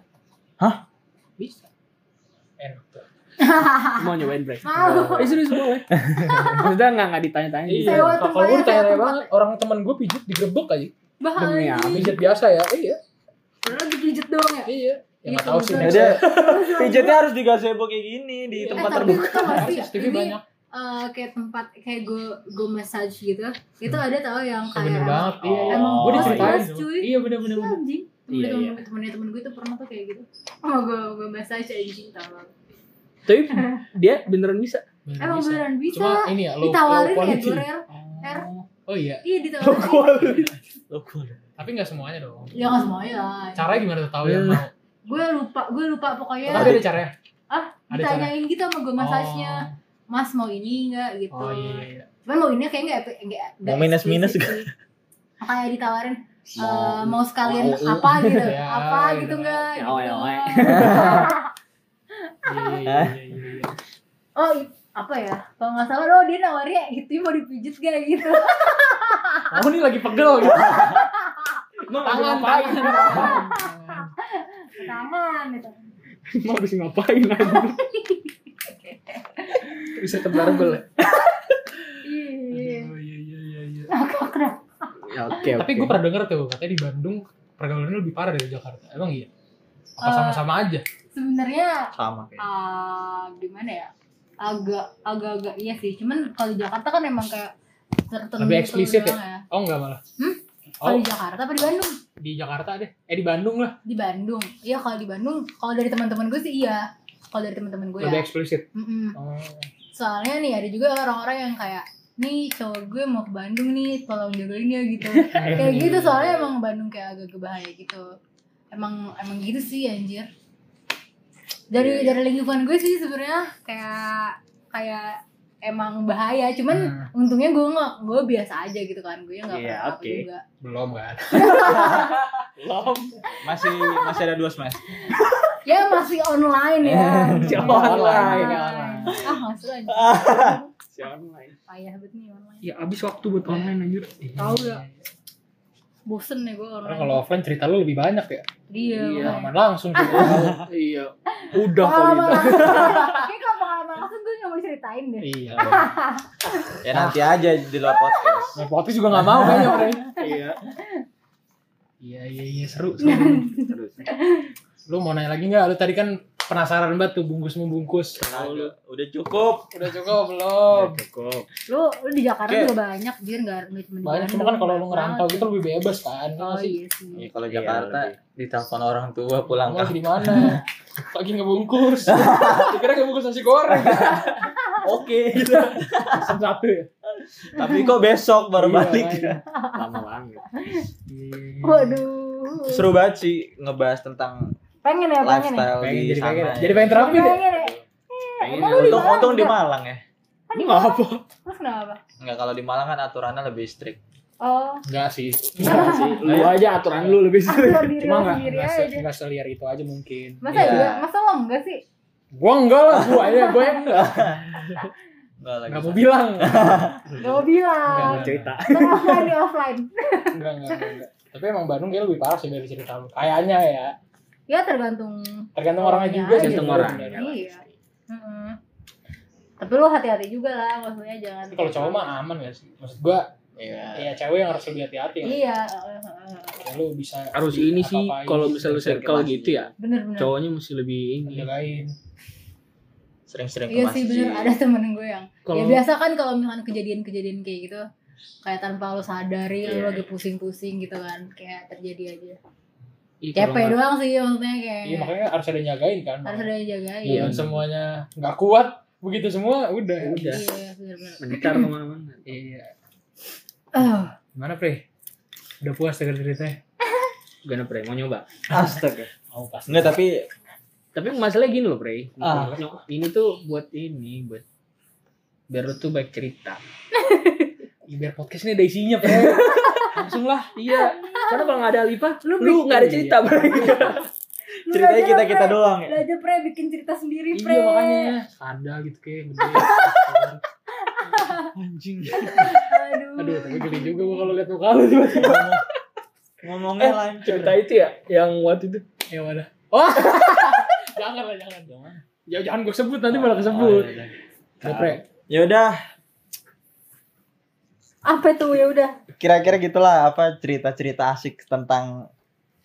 Hah?
bisa
enak tuh.
mau nyobain break
Mau.
eh serius boleh maksudnya nggak nggak ditanya-tanya gitu
Iya,
Sewa
kalau gue
tempatnya, sewa
ditanya
tempat.
banget, orang teman gue pijit digerebek aja.
Demi
Bahaya.
apa?
Pijit biasa ya, iya,
Padahal dipijet doang ya.
iya. Ya
Iya,
nggak tahu sih.
kebetulan.
Ada
Jadi pijatnya harus di gazebo kayak gini di
Iya.
tempat
eh, tapi
terbuka.
lu tau gak sih
CCTV
ini
Iya, banyak.
eh, kayak tempat kayak go go massage gitu itu ada tau yang
Iya, Bener
kayak
banget, iya. iya.
emang
Oh,
Gue
bos
diceritain.
bos cuy
Iya bener-bener.
Iya, anjing
Iya,
temen
iya.
temen temen gue tuh pernah tuh kayak gitu oh gue gue massage anjing tolong
tapi dia beneran bisa
emang beneran bisa
Cuma ini ya, low, low
ditawarin ya Er.
quality.
gorer R.
Oh iya,
iya ditawarin
tapi nggak semuanya dong.
ya nggak semuanya lah
Caranya gimana tuh tahu
Iya.
yang mau?
gue lupa gue lupa pokoknya
Tapi ada caranya.
ah
Ada
ditanyain gitu sama gue massage-nya mas mau ini nggak gitu
Oh, oh iya, iya, iya.
cuman mau ini kayak nggak nggak nggak
Mau minus-minus
eksplisit sih. makanya ditawarin eh,
Mau-
mau sekalian
mau-
apa gitu
Ya,
apa
gitu.
gitu nggak
Ya, oe, oe.
Iya, iya, iya, iya.
oh i- apa ya kalau nggak salah oh dia nawarnya gitu mau dipijit gak gitu
Aku nih lagi pegel gitu.
Emang lagi
Tangan,
ngapain?
tangan.
taman gitu
mau bisa ngapain aja
Bisa tebel-tebel.
iya
Aduh, Iya, iya, iya, iya.
oke
Tapi gue pernah denger tuh katanya di Bandung pergaulannya lebih parah dari Jakarta. Emang iya? Apa
Eh,
sama-sama aja?
sebenarnya
Sama kayak.
ah gimana ya agak agak-agak iya sih cuman kalau di Jakarta kan emang kayak tertentu
Lebih eksplisit
doang
Oh enggak malah.
Hmm? kalau
Oh
di Jakarta apa di Bandung
di Jakarta deh. Eh di Bandung lah.
di Bandung iya kalau di Bandung kalau dari teman-teman gue sih iya kalau dari teman-teman gue
Lebih
ya
eksplisit.
Mm-mm.
Oh.
soalnya nih ada juga orang-orang yang kayak nih cowok gue mau ke Bandung nih tolong jagain ya gitu
Oh,
Iya.
kayak gitu
iya.
soalnya emang Bandung kayak agak berbahaya gitu emang emang gitu sih anjir
Iya,
dari dari lingkungan gue sih sebenarnya kayak kayak emang bahaya cuman untungnya gue nggak gue biasa aja gitu kan gue nggak
Hmm. Iya,
pernah apa
oke.
juga
belum kan.
Belum. Masih masih ada dua semester.
ya masih online ya
Masih
Iya,
online,
ah masih online
online
payah banget nih online
ya abis waktu buat online anjir
Tahu ya. bosen nih gue
Iya. Karena
online
kalau offline cerita lu lebih banyak ya.
dia
Iya.
makanya.
Pengalaman langsung cerita.
iya udah gitu. kali
pengalaman
itu
langsung kayak kalau pengalaman langsung gue nggak mau ceritain deh
iya.
Ya nanti aja di luar podcast.
Nah, podcast juga enggak mau kayaknya orang.
iya
Iya, iya, iya, seru. seru.
terus
lu mau nanya lagi enggak? Lu tadi kan penasaran banget tuh bungkus membungkus.
Udah- Udah cukup.
Udah cukup belum?
cukup
lu lu di Jakarta
Oke.
juga banyak jir nggak nggak cuma di
Banyak cuma
Bandung.
kan kalau lu ngerantau gitu lebih bebas kan.
oh iya sih
Ya, kalau
Iya,
Jakarta ditelepon orang tua
iya.
pulang
Kamu
kan.
lagi di mana? Lagi ngebungkus. Dikira ngebungkus nasi goreng.
Oke.
Pesen satu ya.
Tapi kok besok baru
Iya,
balik.
ya.
makanya.
lama banget
waduh
Seru banget sih ngebahas tentang
pengen ya pengen
lifestyle
ya
Pengen
di
jadi pengen.
sana.
Jadi pengen terapi
pengen
deh.
ya
pengen
Emang lu di
Untung
Malang
untung di
juga?
Malang ya.
kan di Malang.
Ngapa?
terus kenapa
Enggak kalau di Malang kan aturannya lebih strict.
oh
Enggak sih.
Enggak Iya sih lu aja aturan lu lebih sering
aturan diri
Cuma
lo
enggak
sendiri
enggak se-
aja
enggak seliar itu aja mungkin.
masa
Iya.
iya masa lo enggak sih
Gua enggak lah, gua ya, gua yang enggak.
Enggak lagi.
Enggak mau bilang.
gak mau bilang
Enggak,
cerita
Ntar offline di offline
Enggak, enggak, enggak, enggak. Tapi emang Bandung kayaknya lebih parah sih dari cerita lu. Kayaknya ya.
ya tergantung
Tergantung orangnya
Iya,
juga sih.
tergantung orang
sebenarnya.
Iya. Mm-mm. tapi lo hati-hati juga lah maksudnya jangan
Tapi kalau cowok mah aman gak sih? Maksud gua,
Iya.
ya cewek yang harus lebih hati-hati. kan.
iya eh, eh, eh, eh.
Ya, lu bisa
harus ini sih
apa-apain,
kalau misalnya lu circle
Konfirmasi.
gitu ya
bener-bener
cowoknya mesti lebih ini
jagain.
Sering-sering ke
Iya sih
masjid.
bener ada temen gue yang
kalau
ya biasa kan kalau misalkan kejadian-kejadian kayak gitu kayak tanpa lo sadari
Iya.
lo lagi pusing-pusing gitu kan kayak terjadi aja
Iya,
Ih,
ya,
Capek
kalau nggak-
doang sih maksudnya kayak
Iya makanya harus ada yang jagain kan.
harus ada yang jagain.
Iya, semuanya nggak kuat begitu semua udah.
ya udah
Iya, benar-benar.
mencar kemana-mana
Iya.
Ah,
Gimana Pre? Udah puas denger ceritanya?
gue napre mau nyoba
Astaga.
Oh pasti.
Enggak tapi
tapi masalahnya gini loh Prey
Ah.
Nyo- ini tuh buat ini buat biar lu tuh baik cerita
Ih, Biar podcast ini ada isinya Pre.
Iya,
Langsung lah.
iya karena kalau nggak ada Alifa lu Iya.
Lu
nggak ada cerita Prey
ceritanya kita kita doang
doang.
ya.
Belajar pre bikin cerita sendiri pre.
Iya makanya. Ada gitu kayak gede. Anjing.
Aduh.
Aduh, tapi geli juga gua kalau lihat muka lu tiba-tiba.
Ngomongnya
Eh,
lancar.
cerita itu ya yang waktu itu
Ya mana? Oh. jangan lah, jangan. Jangan. Ya jangan gue sebut nanti malah kesebut.
Ah,
Udah, Pre.
Ya udah,
Apa tuh ya udah.
kira-kira gitulah apa cerita-cerita asik tentang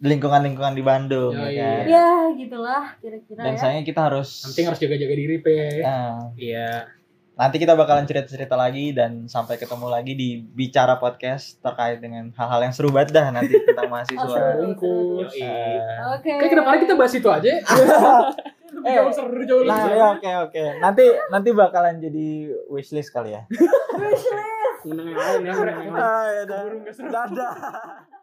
lingkungan-lingkungan di Bandung
Ya,
ya,
iya.
kan?
Ya gitulah kira-kira
Dan
ya.
sayangnya kita harus
Nanti harus jaga-jaga diri, Pre.
eh,
iya
Nanti kita bakalan cerita-cerita lagi dan sampai ketemu lagi di Bicara Podcast terkait dengan hal-hal yang seru banget dah nanti tentang
Oh, seru,
mahasiswa.
seru, seru.
Yoi.
Eh,
Oke.
Kayak kedepannya kita bahas itu aja. ya. Lebih jauh seru jauh lebih
Nah,
seru.
ya, oke oke. Nanti nanti bakalan jadi wishlist kali ya. Iya,
menang yang lain ya menang yang lain.
Ah, ya udah. Dadah.